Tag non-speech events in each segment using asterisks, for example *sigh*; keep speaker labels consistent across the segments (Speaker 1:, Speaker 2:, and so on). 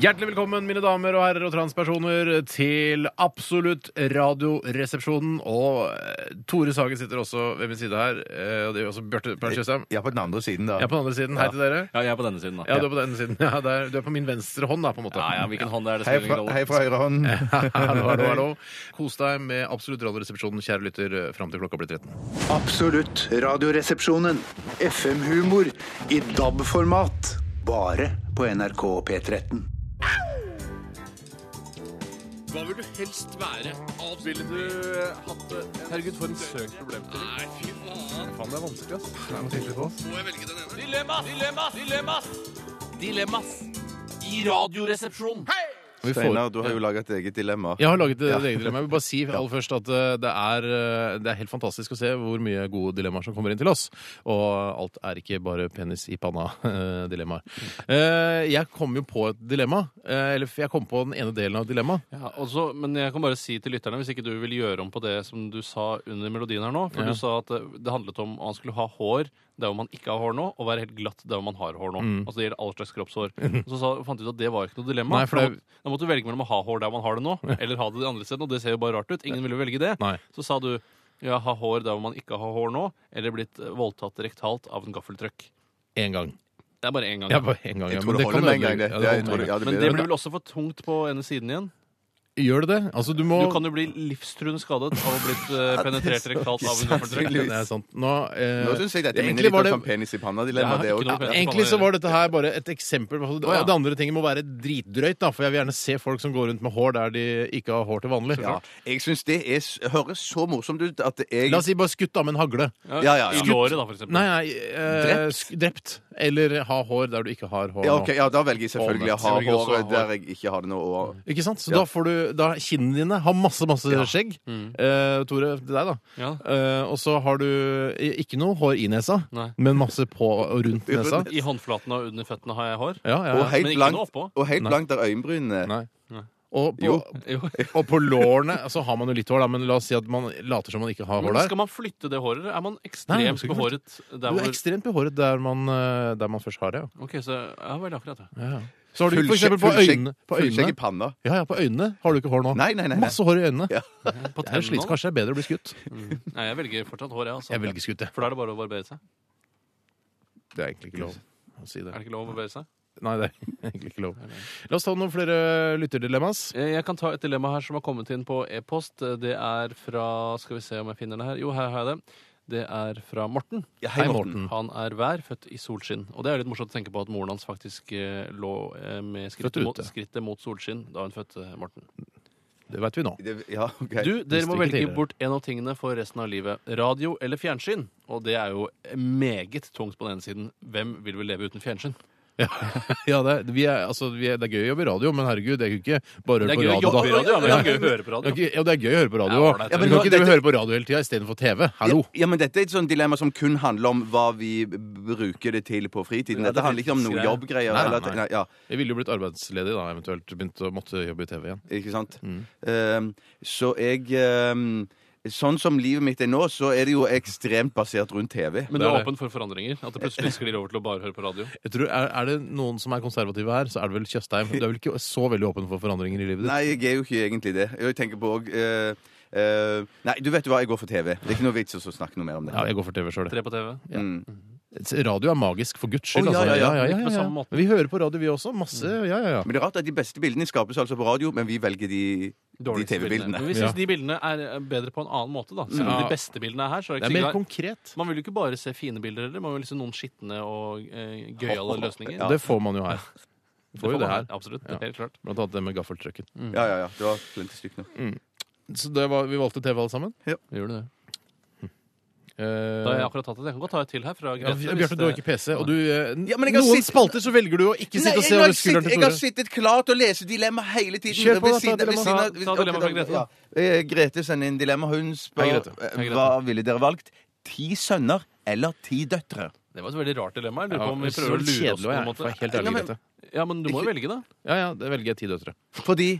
Speaker 1: Hjertelig velkommen, mine damer og herrer og transpersoner, til Absolutt Radioresepsjonen. Og eh, Tore Sagen sitter også ved min side her. eh, Og det gjør også Bjarte Perl Tjøstheim.
Speaker 2: Ja, på den andre siden, da.
Speaker 1: Jeg er på den andre siden. Hei til dere.
Speaker 3: Ja, jeg er på denne siden, da.
Speaker 1: Ja, du er på denne siden. *laughs* Ja, det er- du er på min venstre hånd, da, på en måte.
Speaker 3: ja, ja, hvilken hånd er det
Speaker 2: Hei
Speaker 3: spiller
Speaker 2: fra,
Speaker 3: ingen
Speaker 2: hei
Speaker 3: rolle.
Speaker 2: fra høyre hånd.
Speaker 1: *laughs* Hallo, hallo, hallo. Kos deg med Absolutt Radioresepsjonen, kjære lytter, fram til klokka blir 13.
Speaker 4: Absolutt Radioresepsjonen. FM-humor i DAB-format. Bare på NRK P13.
Speaker 5: Hva vil du helst være? Ville du
Speaker 2: eh,
Speaker 5: hatt det? Herregud, for en søk problem til. Nei, fy faen. Faen, det er vanskelig, ass. Det er noe sikkert på oss. Må jeg velge den ene? Dilemmas! Dilemmas! Dilemmas! Dilemmas i Radioresepsjonen.
Speaker 1: Vi får-
Speaker 2: Steinar, du har jo laga et eget dilemma.
Speaker 1: Jeg har laget et eget dilemma. Jeg vil bare si aller først at eh, det er, eh, det er helt fantastisk å se hvor mye gode dilemmaer som kommer inn til oss. Og alt er ikke bare penis i *laughs* panna-dilemmaer. Eh, Jeg kom jo på et dilemma. eh, Eller jeg kom på den ene delen av et dilemma.
Speaker 3: Ja, og så- men jeg kan bare si til lytterne, hvis ikke du vil gjøre om på det som du sa under melodien her nå For
Speaker 1: Ja.
Speaker 3: du sa at eh, det handlet om at man skulle ha hår der hvor man ikke har hår nå, og være helt glatt der hvor man har hår nå.
Speaker 1: Mm.
Speaker 3: Altså det gjelder all slags
Speaker 1: *laughs*
Speaker 3: kroppshår. Og så sa, fant du ut at det var ikke noe dilemma.
Speaker 1: Nei, for
Speaker 3: da,
Speaker 1: det-
Speaker 3: måtte, da måtte du velge mellom å ha hår der man har det nå, eller ha det de andre stedene, og det ser jo bare rart ut. Ingen ville jo velge det.
Speaker 1: Nei.
Speaker 3: Så sa du ja, ha hår der hvor man ikke har hår nå, eller blitt eh, voldtatt rektalt av en gaffeltrøkk.
Speaker 1: Én gang.
Speaker 3: Det er bare én gang.
Speaker 1: Ja, bare én gang.
Speaker 2: Jeg
Speaker 1: ja,
Speaker 2: tror
Speaker 1: men
Speaker 2: det
Speaker 1: kan
Speaker 2: holder med en gang,
Speaker 1: ødelegge.
Speaker 2: det.
Speaker 1: Ja,
Speaker 2: Ja, jeg
Speaker 1: holder
Speaker 2: tror
Speaker 1: med en
Speaker 2: det- ja,
Speaker 1: gang.
Speaker 2: det
Speaker 3: Men
Speaker 2: blir
Speaker 3: det
Speaker 2: det.
Speaker 3: blir vel også for tungt på ene siden igjen?
Speaker 1: Gjør det det? Altså, du må
Speaker 3: Du kan jo bli livstruende skadet av å ha blitt eh, penetrert rektalt av en gaffeltrøkk.
Speaker 2: sannsynlig.
Speaker 1: *laughs* Det er sant. Nå, eh,
Speaker 2: Nå syns jeg dette minner
Speaker 1: egentlig
Speaker 2: litt
Speaker 1: var
Speaker 2: om
Speaker 1: det
Speaker 2: sånn penis i panna-dilemma.
Speaker 3: Ja,
Speaker 2: det
Speaker 3: ikke
Speaker 2: også.
Speaker 3: noe-
Speaker 1: Egentlig så var dette her bare et eksempel. Og
Speaker 3: Å, ja.
Speaker 1: Det andre tinget må være dritdrøyt, da, for jeg vil gjerne se folk som går rundt med hår der de ikke har hår til vanlig.
Speaker 2: Ja. Jeg syns det er, s- høres så morsomt ut at jeg
Speaker 1: La oss si bare skutt av med en hagle.
Speaker 2: Ja, ja, ja.
Speaker 3: I låret, da, for eksempel.
Speaker 1: Nei, nei eh,
Speaker 2: Drept?
Speaker 1: sk- drept. Eller ha hår der du ikke har hår.
Speaker 2: ja,
Speaker 1: nå.
Speaker 2: ok, ja, da velger jeg selvfølgelig å ha
Speaker 3: Jeg velger også å ha
Speaker 2: håret der jeg ikke har det nå. og-
Speaker 1: Ikke sant? Så
Speaker 2: Ja. Mm.
Speaker 1: da får du da kinnene dine har masse, masse skjegg. Eh, Tore, til deg, da.
Speaker 3: Ja.
Speaker 1: Eh, og så har du i- ikke noe hår i nesa,
Speaker 3: Nei.
Speaker 1: men masse på og rundt nesa.
Speaker 3: I håndflaten og under føttene har jeg hår.
Speaker 1: Ja, ja,
Speaker 2: Og
Speaker 1: ja.
Speaker 2: helt
Speaker 3: Men ikke noe
Speaker 2: blankt,
Speaker 3: oppå.
Speaker 2: og helt
Speaker 1: Nei.
Speaker 2: blankt der øyenbrynene.
Speaker 1: Nei. Og på,
Speaker 2: Jo.
Speaker 3: Jo.
Speaker 1: og på lårene så har man jo litt hår, da, men la oss si at man later som man ikke har hår
Speaker 3: Men
Speaker 1: der.
Speaker 3: skal man flytte det håret? eller Er man
Speaker 1: Nei, man
Speaker 3: ekstremt
Speaker 1: skal ikke
Speaker 3: behåret der
Speaker 1: Du er
Speaker 3: hvor
Speaker 1: ekstremt behåret der man, eh, der man først har det. ja.
Speaker 3: Ok, så Ja vel, akkurat, ja.
Speaker 1: Ja. Så har du for
Speaker 2: Fullskjegg-
Speaker 1: eksempel på
Speaker 2: fullskjegg-
Speaker 1: øynene, på
Speaker 2: fullskjegg i
Speaker 1: øynene.
Speaker 2: panna.
Speaker 1: Ja, ja, på øynene har du ikke hår nå.
Speaker 2: Nei, nei, nei, nei.
Speaker 1: Masse hår i øynene.
Speaker 3: På
Speaker 1: Det er jo
Speaker 3: tennene
Speaker 1: slit,
Speaker 3: også.
Speaker 1: kanskje det er bedre å bli skutt.
Speaker 3: Nei, jeg velger fortsatt hår, jeg. Altså.
Speaker 1: Jeg velger skutt, jeg.
Speaker 3: For da er det bare å barbere seg.
Speaker 1: Det er egentlig ikke lov å si det.
Speaker 3: Er det ikke lov å barbere seg?
Speaker 1: Nei, det er *laughs* egentlig ikke lov. La oss ta noen flere lytterdilemmas.
Speaker 3: Eh, Jeg kan ta et dilemma her som har kommet inn på e-post. Eh, Det er fra Skal vi se om jeg finner det her. Jo, her har jeg det. Det er fra Morten.
Speaker 2: Ja,
Speaker 1: Hei, Morten.
Speaker 3: Han er vær, født i solskinn. Og det er litt morsomt å tenke på at moren hans faktisk eh, lå eh, med skrittet
Speaker 1: Født
Speaker 3: mot,
Speaker 1: ute.
Speaker 3: skrittet mot solskinn da hun fødte Morten.
Speaker 1: Det veit vi nå.
Speaker 2: Det, ja, ok.
Speaker 3: Du, dere må
Speaker 1: ikke
Speaker 3: velge
Speaker 1: tidligere.
Speaker 3: bort en av tingene for resten av livet. Radio eller fjernsyn? Og det er jo meget tungt på den ene siden. Hvem vil vel leve uten fjernsyn?
Speaker 1: Ja, *laughs* det, er- vi er, altså, vi er, det er gøy å jobbe i radio, men herregud, det er jo ikke bare å
Speaker 3: Det
Speaker 1: høre
Speaker 3: er
Speaker 1: på
Speaker 3: gøy å
Speaker 1: radio,
Speaker 3: jobbe i
Speaker 1: da.
Speaker 3: radio, ja, men det er gøy å høre på
Speaker 1: Det er
Speaker 3: radio.
Speaker 1: ikke- Ja, det er gøy å høre på radio
Speaker 3: Ja,
Speaker 1: òg.
Speaker 3: ålreit.
Speaker 1: Du
Speaker 2: men
Speaker 1: kan ikke
Speaker 2: nå-
Speaker 1: drive og høre på radio hele tida istedenfor TV. Hallo!
Speaker 2: Ja, men dette er et sånt dilemma som kun handler om hva vi b- bruker det til på fritiden.
Speaker 3: Ja, det
Speaker 2: Dette handler ikke om noen
Speaker 3: fritidsgreier.
Speaker 2: jobbgreier.
Speaker 1: Nei, nei,
Speaker 2: eller at-
Speaker 1: nei.
Speaker 2: nei, ja,
Speaker 1: Jeg ville jo blitt arbeidsledig da, eventuelt. Begynt å måtte jobbe i TV igjen.
Speaker 2: ikke sant?
Speaker 1: Mm.
Speaker 2: Ehm, så jeg ehm, Sånn som livet mitt er nå, så er det jo ekstremt basert rundt TV.
Speaker 3: Men du
Speaker 1: Det er
Speaker 3: er
Speaker 1: det.
Speaker 3: åpen for forandringer? At det plutselig sklir over til å bare høre på radio?
Speaker 1: Jeg tror, er, er det noen som er konservative her, så er det vel Tjøstheim. Du er vel ikke så veldig åpen for forandringer i livet ditt?
Speaker 2: Nei, jeg er jo ikke egentlig det. Jeg tenker på òg Nei, du vet jo hva, jeg går for TV. Det er ikke noe vits i å snakke noe mer om det.
Speaker 1: Ja, jeg går for TV sjøl.
Speaker 3: Tre på TV?
Speaker 2: Mm.
Speaker 1: Radio er magisk, for guds skyld.
Speaker 2: Å, ja,
Speaker 1: altså.
Speaker 2: ja, ja.
Speaker 3: Ikke på samme måte.
Speaker 1: Men Vi hører på radio, vi også. Masse. Ja, ja, ja.
Speaker 2: Men det er rart at de beste bildene skapes altså på radio, men vi velger de, de
Speaker 3: Dårligste
Speaker 2: TV-bildene.
Speaker 3: Men vi syns
Speaker 1: Ja.
Speaker 3: de bildene er eh, bedre på en annen måte, da. Selv om
Speaker 1: Ja.
Speaker 3: de beste bildene er her. Så er
Speaker 1: Det
Speaker 3: det
Speaker 1: er
Speaker 3: ikke
Speaker 1: mer
Speaker 3: sikkert-
Speaker 1: konkret.
Speaker 3: man vil jo ikke bare se fine bilder heller. Man vil se noen skitne og eh, gøyale
Speaker 1: *laughs*
Speaker 3: løsninger.
Speaker 1: Det får man jo her. Vi får jo det
Speaker 3: man.
Speaker 1: her.
Speaker 3: Absolutt.
Speaker 1: Ja.
Speaker 3: Helt klart.
Speaker 1: Blant annet det med gaffeltrucken.
Speaker 2: Ja, ja, ja. Det var plenty stygt nå.
Speaker 1: Så det var, vi valgte TV alle sammen.
Speaker 3: Gjør det.
Speaker 1: Eh,
Speaker 3: Da har jeg akkurat tatt et. Jeg kan godt ta et til her fra
Speaker 1: ja,
Speaker 3: Grete. hvis
Speaker 1: Bjarte, du har
Speaker 3: det-
Speaker 1: ikke PC, og du eh,
Speaker 2: Ja, men jeg har
Speaker 1: Noen
Speaker 2: sitt-
Speaker 1: spalter så velger du å ikke sitte og se
Speaker 2: jeg, har
Speaker 1: over
Speaker 2: sitt-
Speaker 1: skulderen til
Speaker 2: jeg har
Speaker 1: Tore.
Speaker 2: sittet klar til å lese dilemma hele tiden.
Speaker 1: Kjør på,
Speaker 2: Ved
Speaker 1: da, ta
Speaker 2: siden- ved
Speaker 1: dilemma.
Speaker 2: siden av-
Speaker 3: Ta- ta dilemma fra
Speaker 2: ok,
Speaker 3: Grete,
Speaker 2: da.
Speaker 3: da.
Speaker 2: Ja. Eh, Grete sender inn dilemma. Hun spør eh,
Speaker 3: Hei, Grete. Hei, Grete.
Speaker 2: hva ville dere valgt. Ti sønner eller ti døtre?
Speaker 3: Det var et veldig rart dilemma. Jeg lurer
Speaker 1: Ja,
Speaker 3: på om vi
Speaker 1: så
Speaker 3: prøver å lure oss
Speaker 1: kjedelig
Speaker 3: på
Speaker 1: var
Speaker 3: en
Speaker 1: jeg,
Speaker 3: måte.
Speaker 1: for jeg er helt ærlig, Grete.
Speaker 3: Ja, men du må jo velge det.
Speaker 1: Ja, ja, det velger jeg ti døtre.
Speaker 2: Fordi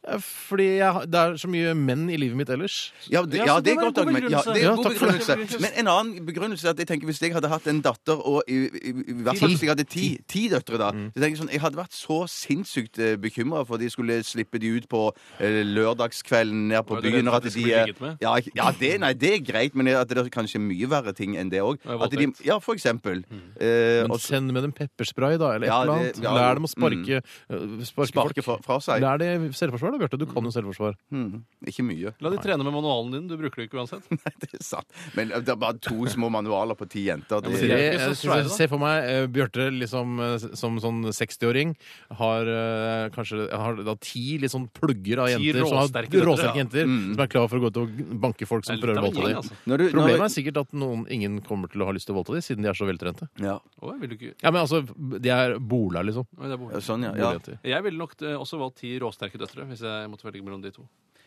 Speaker 1: Ja, Fordi jeg, har- det er så mye menn i livet mitt ellers.
Speaker 2: Ja, det,
Speaker 3: Ja,
Speaker 2: ja, det
Speaker 3: så det
Speaker 2: er
Speaker 3: var en
Speaker 2: godt
Speaker 3: god
Speaker 2: argument. Ja,
Speaker 3: begrunnelse.
Speaker 2: det er en
Speaker 1: Ja,
Speaker 2: god
Speaker 1: takk for det.
Speaker 2: begrunnelse. Men en annen begrunnelse er at jeg tenker hvis jeg hadde hatt en datter, og i, i, i hvert fall hvis jeg hadde ti, ti døtre, da så tenker Jeg sånn, jeg hadde vært så sinnssykt bekymra for at de skulle slippe de ut på eh, lørdagskvelden ned på
Speaker 3: Var du redd
Speaker 2: byen. Og
Speaker 3: for
Speaker 2: at
Speaker 3: at de
Speaker 2: de,
Speaker 3: skulle
Speaker 2: eh,
Speaker 3: ligget med?
Speaker 2: ja, ikke- ja det, nei, det er greit, men at det er kanskje mye verre ting enn det òg.
Speaker 3: Og voldtekt.
Speaker 2: Ja, for eksempel. Eh,
Speaker 1: Men
Speaker 2: og så-
Speaker 1: send med dem pepperspray, da, eller et
Speaker 2: Ja,
Speaker 1: eller
Speaker 2: det-
Speaker 1: annet.
Speaker 2: ja,
Speaker 1: Lær dem å sparke, øh, mm. sparke,
Speaker 2: Sparke fra,
Speaker 1: folk.
Speaker 2: fra seg.
Speaker 1: Lær det selvforsvar, da, Bjarte. Du kan jo selvforsvar.
Speaker 2: Mhm. Ikke mye. *laughs*
Speaker 3: La de trene med manualen din. Du bruker det ikke uansett.
Speaker 2: Nei, det er sant. Men eh, det er bare to små manualer på ti jenter.
Speaker 3: men
Speaker 2: Det,
Speaker 3: det er-
Speaker 1: Jeg,
Speaker 3: ikke så
Speaker 1: jeg,
Speaker 3: svære, da.
Speaker 1: ser for meg eh, Bjarte liksom, eh, som sånn 60-åring har eh, kanskje har da ti litt sånn plugger av
Speaker 3: Ti
Speaker 1: jenter som har
Speaker 3: råsterke døtre,
Speaker 1: råsterke
Speaker 3: ja. Mm.
Speaker 1: jenter som er klar for å gå ut og banke folk som
Speaker 3: Det er litt
Speaker 1: prøver å
Speaker 3: av en
Speaker 1: voldta
Speaker 3: gjeng,
Speaker 1: dem.
Speaker 3: altså.
Speaker 2: Når du- når-
Speaker 1: Problemet er sikkert at noen, ingen kommer til å ha lyst til å voldta dem, siden de er så veltrente.
Speaker 2: ja.
Speaker 3: Å, jeg vil ikke...
Speaker 1: Ja, men altså, De er bola, liksom.
Speaker 3: Oi, det er borte.
Speaker 2: Ja, Sånn, ja. ja.
Speaker 1: *clears throat* Bolejenter.
Speaker 3: Jeg ville nok eh, også valgt ti råsterke døtre hvis jeg måtte velge mellom de to.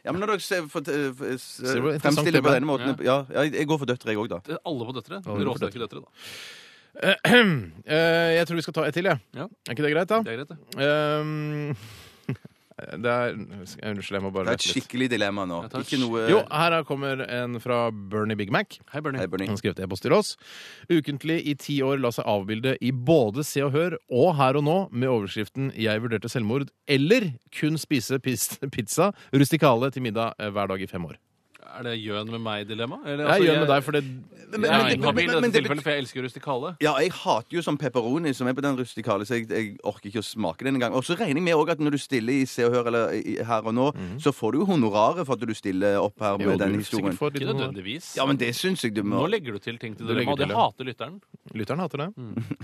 Speaker 2: Ja, men når dere ser, for, for,
Speaker 1: det var
Speaker 2: for,
Speaker 1: interessant
Speaker 2: fremstiller det på
Speaker 1: tema.
Speaker 2: denne måten ja. ja, jeg går for døtre, jeg òg, da.
Speaker 3: Det er Eh, Alle på døtre.
Speaker 1: Alle på
Speaker 3: Råsterke døtre, da.
Speaker 1: Eh, jeg tror vi skal ta et til, jeg.
Speaker 3: Ja.
Speaker 1: Er ikke det greit, da?
Speaker 3: Det er greit, det.
Speaker 1: Ehm, *laughs* det er Unnskyld, jeg må bare
Speaker 2: Det er et
Speaker 1: lette litt.
Speaker 2: skikkelig dilemma nå.
Speaker 3: Jeg tar et
Speaker 2: Ikke noe
Speaker 1: Jo, her er- kommer en fra Bernie Big Mac.
Speaker 3: Hei, Bernie.
Speaker 2: Eh, Hei, Bernie.
Speaker 1: Han har skrevet e-post til oss. Ukentlig i ti år la seg avbilde i både Se og Hør og Her og Nå med overskriften 'Jeg vurderte selvmord' eller 'Kun spise pis- pizza rustikale til middag eh, hver dag i fem år'.
Speaker 3: Er det gjøn med meg-dilemma? Eller,
Speaker 1: Jeg
Speaker 3: altså,
Speaker 1: gjør med deg, for det
Speaker 2: men-
Speaker 3: Jeg er
Speaker 1: Nei,
Speaker 2: men- men-
Speaker 3: inhabil i
Speaker 2: men- men
Speaker 3: dette
Speaker 2: det
Speaker 3: tilfellet, for jeg elsker rustikale.
Speaker 2: Ja, jeg hater jo sånn pepperoni som er på den rustikale, så jeg, jeg orker ikke å smake den engang. Og så regner jeg med også at når du stiller i Se og Hør eller i, her og nå,
Speaker 1: Mhm.
Speaker 2: så får du jo honoraret for at du stiller opp her med
Speaker 1: Jo,
Speaker 2: den
Speaker 1: du sikkert
Speaker 2: historien.
Speaker 1: får litt
Speaker 3: Ikke
Speaker 1: noe-
Speaker 3: nødvendigvis.
Speaker 2: Ja, men det syns jeg du må
Speaker 3: Nå legger du til ting til
Speaker 1: Du
Speaker 3: dilemma, og
Speaker 1: legger
Speaker 3: det
Speaker 1: til, ja.
Speaker 3: hater lytteren.
Speaker 1: Lytteren hater det.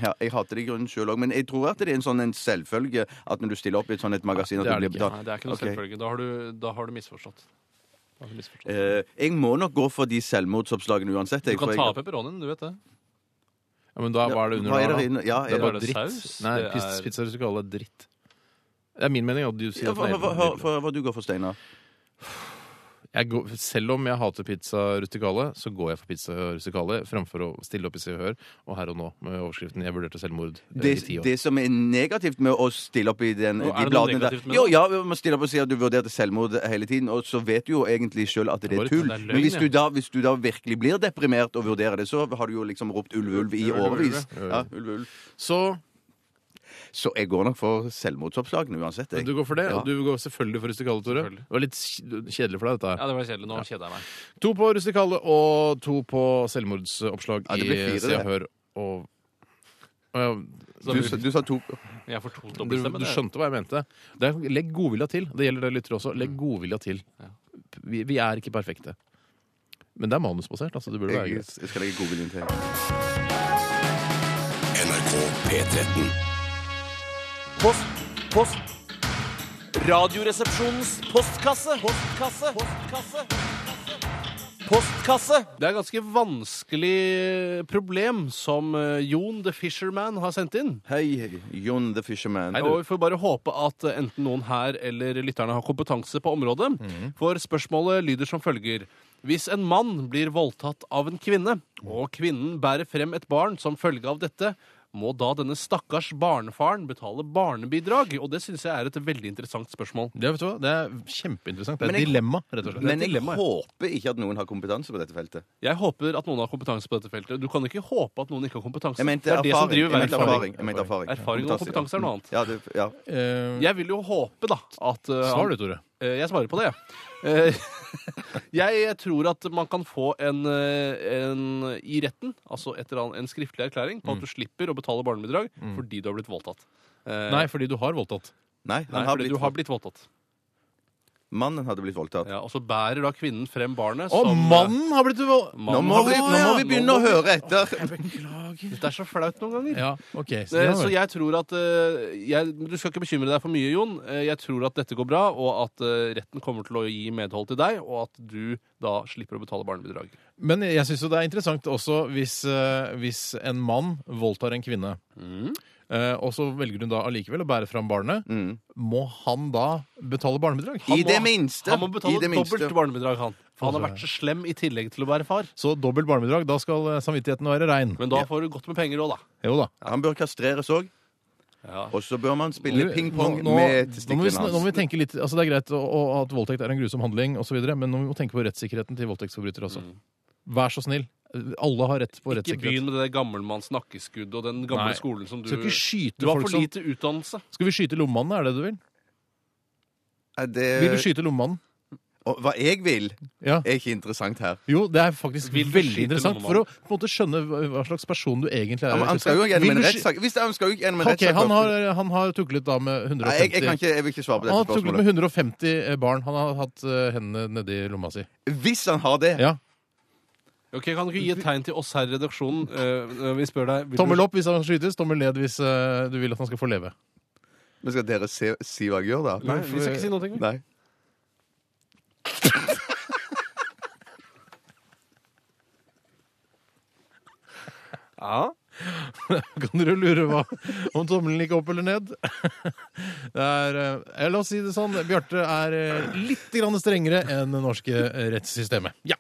Speaker 2: ja, Jeg hater det i grunnen sjøl òg, men jeg tror at det er en sånn en selvfølge at når du stiller opp i et sånt et magasin, at
Speaker 1: det
Speaker 2: du
Speaker 1: er
Speaker 2: blir
Speaker 1: det ikke.
Speaker 2: betalt.
Speaker 3: Nei, det er ikke noe
Speaker 2: Ok.
Speaker 3: selvfølge. Da har du, da har du misforstått. Da har du misforstått.
Speaker 2: Eh, jeg må nok gå for de selvmordsoppslagene uansett.
Speaker 3: Du
Speaker 2: jeg, for
Speaker 3: kan
Speaker 2: jeg-
Speaker 3: ta av pepperonien, du vet det.
Speaker 1: Ja, men da, hva er det under
Speaker 2: Hva
Speaker 1: der, da?
Speaker 2: det inne? Ja,
Speaker 1: Det er
Speaker 3: bare
Speaker 1: bare
Speaker 3: det
Speaker 1: dritt.
Speaker 3: saus,
Speaker 1: Nei,
Speaker 3: det
Speaker 1: pizza,
Speaker 3: er-
Speaker 1: pizza rustikale er dritt. Det er min mening. at du sier
Speaker 2: Ja,
Speaker 1: at
Speaker 2: for,
Speaker 1: den er
Speaker 2: for, for,
Speaker 1: nydelig.
Speaker 2: for, for du går for Steinar.
Speaker 1: jeg går, selv om jeg hater pizza rustikale, så går jeg for pizza rustikale framfor å stille opp i Se og Hør og Her og Nå med overskriften 'Jeg vurderte selvmord' eh,
Speaker 2: Det,
Speaker 1: i ti år.
Speaker 2: det som er negativt med å stille opp i den,
Speaker 3: Nå,
Speaker 2: de
Speaker 3: er det noe
Speaker 2: bladene der
Speaker 3: negativt med
Speaker 2: Jo,
Speaker 3: det?
Speaker 2: ja, man stiller opp og sier at du vurderte selvmord hele tiden, og så vet du jo egentlig sjøl at det
Speaker 3: Bare
Speaker 2: er tull.
Speaker 3: det er løgn,
Speaker 2: Men hvis
Speaker 3: ja.
Speaker 2: du, da, hvis du da virkelig blir deprimert og vurderer det, så har du jo liksom ropt ulv, ulv i
Speaker 3: Ulv, ulv,
Speaker 2: årevis.
Speaker 1: ulv, ulv.
Speaker 2: Ja, ulv, ulv.
Speaker 1: Så
Speaker 2: Så jeg går nok for selvmordsoppslagene uansett. jeg.
Speaker 1: du går for det,
Speaker 2: Ja.
Speaker 1: og du går selvfølgelig for rustikale, Tore.
Speaker 3: Selvfølgelig.
Speaker 1: Det var litt kj- kjedelig for deg, dette her.
Speaker 3: Ja, det var kjedelig. Nå kjeder jeg meg.
Speaker 1: To på rustikale og to på selvmordsoppslag
Speaker 2: Ja, det blir
Speaker 1: i
Speaker 2: fire,
Speaker 1: Se og
Speaker 2: det.
Speaker 1: Hør og Å ja,
Speaker 3: Så
Speaker 2: Du, sa- du sa to
Speaker 3: jeg får to
Speaker 1: du,
Speaker 3: dobbeltstemmer.
Speaker 1: du skjønte hva jeg mente. Det er, legg godvilja til. Det gjelder dere lyttere også.
Speaker 3: Mm.
Speaker 1: Legg godvilja til. Vi, vi er ikke perfekte. Men det er manusbasert. altså. Det burde være
Speaker 2: Jeg,
Speaker 1: greit.
Speaker 2: jeg skal legge godviljen til.
Speaker 6: NRK P13.
Speaker 7: Post, post. Radioresepsjonens postkasse. Postkasse. Postkasse. Postkasse.
Speaker 3: Det er et ganske vanskelig problem som eh, Jon the Fisherman har sendt inn.
Speaker 2: Hei, Jon the Fisherman.
Speaker 3: Og vi får bare håpe at eh, enten noen her eller lytterne har kompetanse på området.
Speaker 2: Mhm.
Speaker 3: For spørsmålet lyder som følger. Hvis en mann blir voldtatt av en kvinne, og kvinnen bærer frem et barn som følge av dette, må da denne stakkars barnefaren betale barnebidrag? Og det syns jeg er et veldig interessant spørsmål.
Speaker 1: Det, vet du hva? det er kjempeinteressant. Det er
Speaker 2: Men
Speaker 1: et
Speaker 2: jeg-
Speaker 1: dilemma, rett og slett.
Speaker 2: Men
Speaker 1: Det er et
Speaker 2: jeg
Speaker 1: dilemma, ja.
Speaker 2: håper ikke at noen har kompetanse på dette feltet.
Speaker 3: Jeg håper at noen har kompetanse på dette feltet. Du kan ikke håpe at noen ikke har kompetanse.
Speaker 2: Jeg mente
Speaker 3: det er
Speaker 2: erfaring.
Speaker 3: det som driver
Speaker 2: jeg
Speaker 3: verden
Speaker 2: mente
Speaker 3: framover.
Speaker 2: erfaring. Jeg mente erfaring.
Speaker 3: Erfaring og kompetanse er noe annet.
Speaker 2: Ja, det, ja.
Speaker 1: Eh,
Speaker 3: Jeg vil jo håpe, da, at eh,
Speaker 1: Svar du, Tore.
Speaker 3: Eh, Jeg svarer på det, jeg. Eh, *laughs* Jeg tror at man kan få en, eh, en i retten, altså et eller annet, en skriftlig erklæring på at du slipper å betale barnebidrag fordi du har blitt voldtatt. Eh,
Speaker 1: Nei, fordi du har voldtatt.
Speaker 2: Nei,
Speaker 3: nei,
Speaker 2: han har
Speaker 3: fordi
Speaker 2: blitt,
Speaker 3: du har blitt voldtatt.
Speaker 2: Mannen hadde blitt voldtatt.
Speaker 3: Ja, og så bærer da kvinnen frem barnet
Speaker 1: Og
Speaker 3: som eh,
Speaker 1: mannen har blitt voldtatt!
Speaker 3: Mannen
Speaker 2: Nå må
Speaker 3: har
Speaker 2: vi, nå
Speaker 3: blitt-
Speaker 2: må vi
Speaker 3: Å, ja,
Speaker 2: begynne å
Speaker 3: nå-
Speaker 2: høre etter!
Speaker 3: Det er så flaut noen ganger.
Speaker 1: Ja, ok. Så,
Speaker 3: Eh,
Speaker 1: ja,
Speaker 3: Så
Speaker 1: vel.
Speaker 3: jeg tror at eh, jeg, Du skal ikke bekymre deg for mye, Jon. Eh, Jeg tror at dette går bra, og at eh, retten kommer til å gi medhold til deg, og at du da slipper å betale barnebidrag.
Speaker 1: Men
Speaker 2: Mm.
Speaker 1: jeg syns jo det er interessant også hvis, eh, hvis en mann voldtar en kvinne. Eh, og så velger hun da allikevel å bære fram barnet. Må han da betale barnebidrag?
Speaker 2: Mm. I
Speaker 1: Han
Speaker 2: det
Speaker 1: må,
Speaker 2: minste.
Speaker 3: Han må
Speaker 2: I
Speaker 3: betale
Speaker 2: det minste.
Speaker 3: dobbelt barnebidrag, han. For han har vært så slem i tillegg til å være far.
Speaker 1: så dobbelt barnebidrag, da skal eh, samvittigheten være rein.
Speaker 3: Men da får du godt med penger òg, da.
Speaker 1: Jo da.
Speaker 2: Han bør kastreres òg.
Speaker 3: Ja.
Speaker 2: Og så bør man spille pingpong
Speaker 1: Nå- nå-
Speaker 2: med
Speaker 1: nå må vi
Speaker 2: testiklene
Speaker 1: sn- Nå må
Speaker 2: hans.
Speaker 1: vi tenke litt, altså Det er greit å- å- at voldtekt er en grusom handling, og så videre, men nå må vi tenke på rettssikkerheten til voldtektsforbrytere også. Vær så snill. Alle har rett på
Speaker 3: Mm. Ikke
Speaker 1: rettssikkerhet.
Speaker 3: begynn med det der gammelmannsnakkeskuddet og den gamle
Speaker 1: Nei.
Speaker 3: skolen som du
Speaker 1: Skal ikke skyte
Speaker 3: Du har
Speaker 1: folk
Speaker 3: for
Speaker 1: som-
Speaker 3: lite utdannelse.
Speaker 1: Skal vi skyte lommemannen, er det det du vil?
Speaker 2: Er det-
Speaker 1: Vil du skyte lommemannen?
Speaker 2: Og Hva jeg vil,
Speaker 1: Ja.
Speaker 2: er ikke interessant her.
Speaker 1: Jo, det er faktisk
Speaker 3: Vil du
Speaker 1: veldig
Speaker 3: skyte
Speaker 1: interessant for å
Speaker 3: lommemannen?
Speaker 1: på en måte skjønne hva hva slags person du egentlig er.
Speaker 2: Han, han skal jo gjennom
Speaker 1: Vil
Speaker 2: en
Speaker 1: du sky-
Speaker 2: rettssak. Hvis det- han skal jo gjennom en
Speaker 1: Ok,
Speaker 2: rettssak
Speaker 1: han har,
Speaker 2: først.
Speaker 1: han har tuklet da med
Speaker 2: Nei, jeg, jeg, kan
Speaker 1: 150
Speaker 2: ikke, jeg vil ikke svare på
Speaker 1: han har
Speaker 2: dette
Speaker 1: tuklet
Speaker 2: spørsmålet.
Speaker 1: med 150 barn. Han har hatt eh, hendene nedi lomma si.
Speaker 2: Hvis han har det
Speaker 1: Ja.
Speaker 3: Ok, Kan du ikke gi et tegn til oss her i redaksjonen?
Speaker 1: *laughs*
Speaker 3: Eh, vi spør deg vil du-
Speaker 1: Tommel opp hvis han skytes, tommel ned hvis eh, du vil at han skal få leve. *laughs*
Speaker 2: Men Skal dere se, si hva jeg gjør, da?
Speaker 3: Nei, vi skal ikke si noe. tenker vi.
Speaker 2: Nei.
Speaker 3: Ja.
Speaker 1: Kan dere lure hva, om tommelen gikk opp eller ned? *laughs* Det er, eh, la oss si det sånn, Bjarte er eh, litt grann strengere enn det norske eh, rettssystemet. Ja.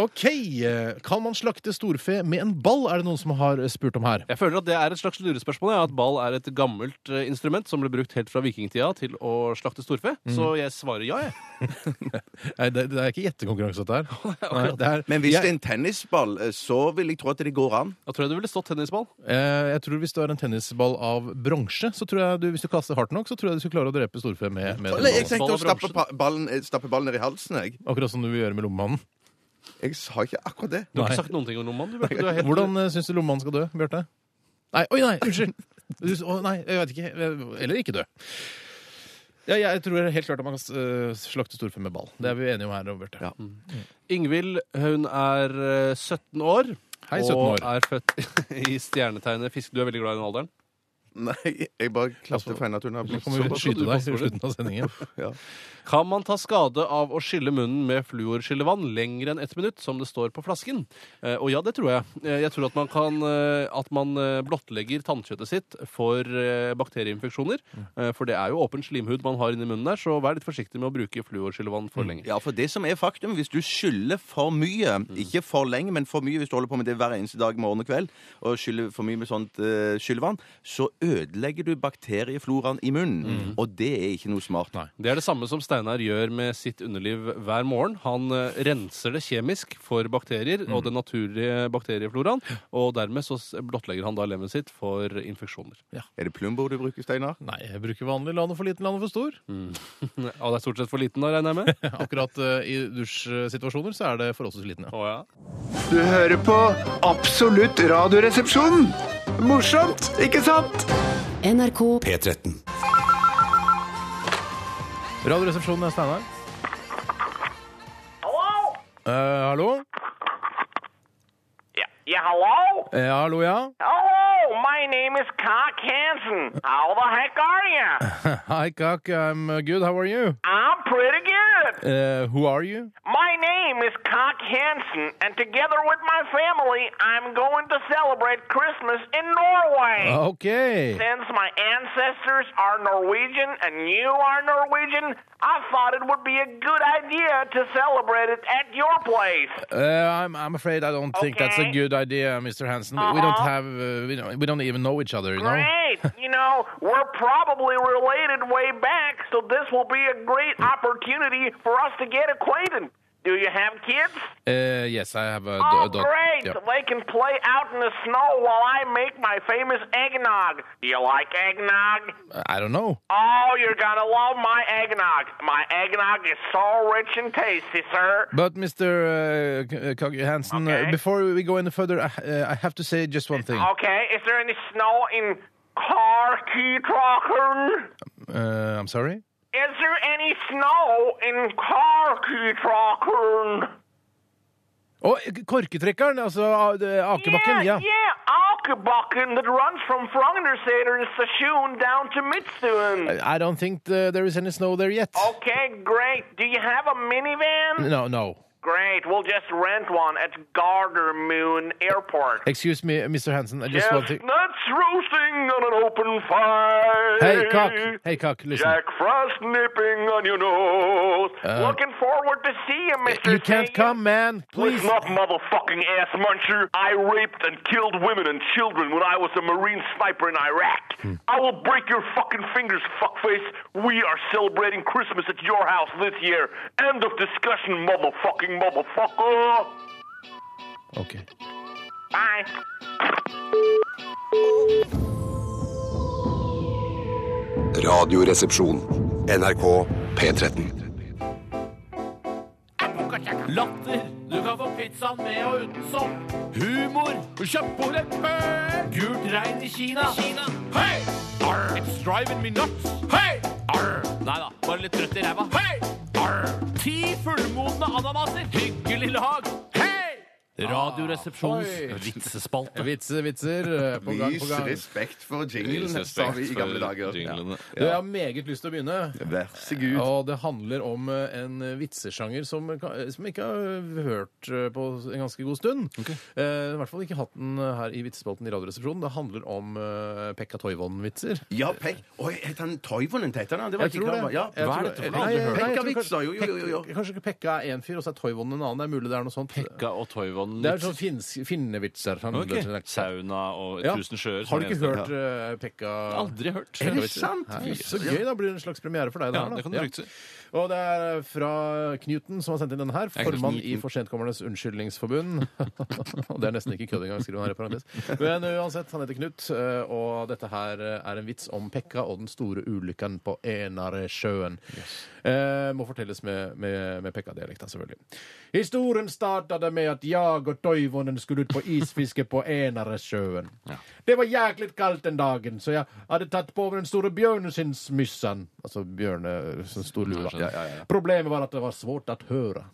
Speaker 1: OK. eh, Kan man slakte storfe med en ball, er det noen som har eh, spurt om her.
Speaker 3: Jeg føler at det er et slags lurespørsmål. Ja. At ball er et gammelt eh, instrument som ble brukt helt fra vikingtida til å slakte storfe.
Speaker 1: Mhm.
Speaker 3: Så jeg svarer ja, jeg.
Speaker 1: Nei, det, det er ikke gjettekonkurranse, dette *laughs* her. Nei, det er,
Speaker 2: Men hvis det er
Speaker 1: jeg,
Speaker 2: en tennisball, eh, så vil jeg tro at det går an.
Speaker 3: Da tror jeg det ville stått tennisball.
Speaker 1: eh, jeg tror Hvis du har en tennisball av bronse, så tror jeg du, hvis du kaster hardt nok, så tror jeg du skal klare å drepe storfe med, med den
Speaker 2: Eller jeg tenkte å
Speaker 1: ballen.
Speaker 3: Ball av
Speaker 2: stappe pa- ballen, eh, stappe ballen ned i halsen, jeg.
Speaker 1: Akkurat som du vil gjøre med lommemannen.
Speaker 2: Jeg sa ikke akkurat det.
Speaker 3: Du har
Speaker 1: Nei.
Speaker 3: ikke sagt noen ting om romanen. Du, Bjarte.
Speaker 1: *laughs*
Speaker 3: du er helt
Speaker 1: Hvordan uh, syns du lommemannen skal dø, Bjarte? Nei, oi, nei, unnskyld! Du, å, nei, jeg vet ikke. Eh, Eller ikke dø. Ja, jeg tror helt klart at man kan eh, slakte storfe med ball. Det er vi enige om her, Bjarte.
Speaker 2: Ja.
Speaker 3: Ingvild, hun er eh, 17 år.
Speaker 1: Hei, 17 år.
Speaker 3: Og er født *laughs* i stjernetegnet fisk. Du er veldig glad i den alderen.
Speaker 2: Nei, jeg bare klapper feil at hun har blitt
Speaker 1: Altså, Så kommer vi til å
Speaker 2: såpass.
Speaker 1: skyte deg i slutten av sendingen.
Speaker 3: Kan man ta skade av å skylle munnen med fluorskyllevann lenger enn ett minutt, som det står på flasken? Eh, og ja, det tror jeg. Eh, jeg tror at man, kan, eh, at man eh, blottlegger tannkjøttet sitt for eh, bakterieinfeksjoner.
Speaker 1: Mm.
Speaker 3: Eh, for det er jo åpen slimhud man har inni munnen der, så vær litt forsiktig med å bruke fluorskyllevann
Speaker 1: Mm.
Speaker 3: for lenge.
Speaker 2: Ja, for det som er faktum, hvis du skyller for mye,
Speaker 1: Mm.
Speaker 2: ikke for lenge, men for mye hvis du holder på med det hver eneste dag, morgen og kveld, og skyller for mye med sånt uh, skyllevann, så ødelegger du bakteriefloraen i munnen. Og det er ikke noe smart.
Speaker 1: Mm. Nei.
Speaker 3: Det er det samme som Steinar gjør med sitt underliv hver morgen. Han eh, renser det kjemisk for bakterier og den naturlige bakteriefloraen, og dermed så s- blottlegger han da lemmet sitt for infeksjoner.
Speaker 2: Er det Plumbo du bruker, Steinar?
Speaker 1: Nei, jeg bruker vanlig lano for liten, lano for stor.
Speaker 3: Ja, det er stort sett for liten, da, regner jeg med?
Speaker 1: Akkurat eh, i dusjsituasjoner så er det forholdsvis liten, ja.
Speaker 3: *laughs* Å, ja.
Speaker 6: Du hører på Absolutt radioresepsjon. Morsomt, ikke sant?
Speaker 8: NRK
Speaker 9: P13.
Speaker 1: Radioresepsjonen er Steinar. Hallo? hallo?
Speaker 10: Yeah. Yeah, hello?
Speaker 1: Eh, hallo, ja.
Speaker 10: Hello, my name is Cock Hansen. How the heck are you?
Speaker 1: Hi, Kak. I'm uh, good. How are you?
Speaker 10: I'm pretty good.
Speaker 1: Eh, who are you?
Speaker 10: My name is Cock Hansen, and together with my family, I'm going to celebrate Christmas in
Speaker 1: Oh.
Speaker 10: Norway.
Speaker 1: Okay.
Speaker 10: Since my ancestors are Norwegian and you are Norwegian, I thought it would be a good idea to celebrate it at your place.
Speaker 1: Uh, I'm, I'm afraid I don't think that's a
Speaker 10: Okay.
Speaker 1: good idea, Mr. Hansen. We- We don't
Speaker 10: Uh-huh.
Speaker 1: have, uh, we, don't, we don't even know each other, you know?
Speaker 10: Great. You know, we're probably related way back, so this will be a great opportunity for us to get acquainted. Do you have kids?
Speaker 1: Uh, yes, I have a, d-
Speaker 10: Oh,
Speaker 1: a dog.
Speaker 10: great.
Speaker 1: Yeah.
Speaker 10: They can play out in the snow while I make my famous eggnog. Do you like eggnog?
Speaker 1: I don't know.
Speaker 10: Oh, you're going to love my eggnog. My eggnog is so rich and tasty, sir.
Speaker 1: But, Mr. Uh, K- uh, Kag Hansen, uh,
Speaker 10: Okay.
Speaker 1: before we go any further, I, uh, I have to say just one thing.
Speaker 10: Okay, is there any snow in Karkitrokken?
Speaker 1: Uh, I'm sorry?
Speaker 10: Is there any snow in Karkitrokken?
Speaker 1: Å, Oh, eh, korketrekkeren, altså uh, det- akebakken.
Speaker 10: Yeah,
Speaker 1: Ja.
Speaker 10: yeah, Alkebakken that runs from Frognersader and Sashoon down to Mitsuen.
Speaker 1: I
Speaker 10: Oh.
Speaker 1: don't think uh, there is any snow there yet.
Speaker 10: Okay, great. Do you have a minivan?
Speaker 1: No, no.
Speaker 10: Great. We'll just rent one at Gardermoon Airport.
Speaker 1: Excuse me, Mr. Hansen. I just want to...
Speaker 10: Chestnuts roasting on an open fire.
Speaker 1: Hey, cock. Hey, cock, listen.
Speaker 10: Jack Frost nipping on your nose. Looking forward to see you, Mr.
Speaker 1: Uh, You can't
Speaker 10: Sagan.
Speaker 1: come, man. Please.
Speaker 10: Listen up, motherfucking ass muncher. I raped and killed women and children when I was a Marine sniper in Iraq. I will break your fucking fingers, fuckface. We are celebrating Christmas at your house this year. End of discussion, motherfucking motherfucker.
Speaker 1: Ok.
Speaker 10: Bye.
Speaker 6: Radioresepsjon. NRK P13.
Speaker 11: Latter. Du kan få pizzaen med og uten sopp. Humor. Kjøpt på leppet. Gult regn i Kina. Kina. Hei! Arr. It's driving me nuts. Hei! Arr. Nei da, bare litt trøtt i ræva. Hei! Arr. Ti fullmodne ananaser. Hyggelig lag. Hei!
Speaker 1: Oi.
Speaker 11: Radioresepsjonens vitsespalte.
Speaker 1: Vitser, vitser. eh, På gang, på gang.
Speaker 2: respekt for jinglen,
Speaker 3: respekt for jinglene.
Speaker 1: Du, jeg har meget lyst til å begynne.
Speaker 2: Vær så god.
Speaker 1: Og det handler om eh, en vitsesjanger som, eh, ka- som jeg ikke har hørt eh, på en ganske god stund. Eh, I hvert fall ikke hatt den her i vitsespalten i Radioresepsjonen. Det handler om eh, Pekka Toivonen-vitser.
Speaker 2: Ja, Pek... Oi, het han Toivonen? Het han det? var
Speaker 1: Jeg
Speaker 2: ikke
Speaker 1: tror
Speaker 2: klar over.
Speaker 1: det.
Speaker 2: Ja,
Speaker 1: Jeg
Speaker 2: hva
Speaker 1: tror-
Speaker 2: er dette for
Speaker 1: Nei,
Speaker 2: noe?
Speaker 1: jeg- nei, jeg tror
Speaker 2: Pekkavits, da. Jo, jo, jo. jo.
Speaker 1: Pek- Kanskje ikke Pekka er én fyr, og så er Toivonen en annen. Det er mulig det er noe sånt.
Speaker 3: Pekka og Toivonen.
Speaker 1: Det er sånn finsk- finnevitser. Han-
Speaker 3: Ok. Sauna og
Speaker 1: Ja.
Speaker 3: Tusen sjøer. som
Speaker 1: Har du ikke
Speaker 3: eneste.
Speaker 1: hørt eh, Pekka
Speaker 3: Aldri hørt.
Speaker 1: Er det
Speaker 2: sant?
Speaker 1: Nei, Så gøy, da blir det en slags premiere for deg.
Speaker 3: Ja,
Speaker 1: her, da.
Speaker 3: det kan du trygt si.
Speaker 1: Og det er eh, fra Knuten som har sendt inn denne her.
Speaker 3: er Knuten.
Speaker 1: Formann i Forsentkommernes Unnskyldningsforbund. *laughs* Og det er nesten ikke kødd engang, skriver han her i parentes. Men uansett, han heter Knut, eh, og dette her eh, er en vits om Pekka og den store ulykken på Enaresjøen. Eh, må fortelles med, med, med Pekka-dialekta, selvfølgelig. Historien startet med at jeg og Toivonen skulle ut på isfiske på Enaresjøen. Det var jæklig kaldt den dagen, så jeg hadde tatt på meg den store bjørneskinnsmyssan. Altså bjørne... Sånn stor lua. Problemet var at det var svårt at høre.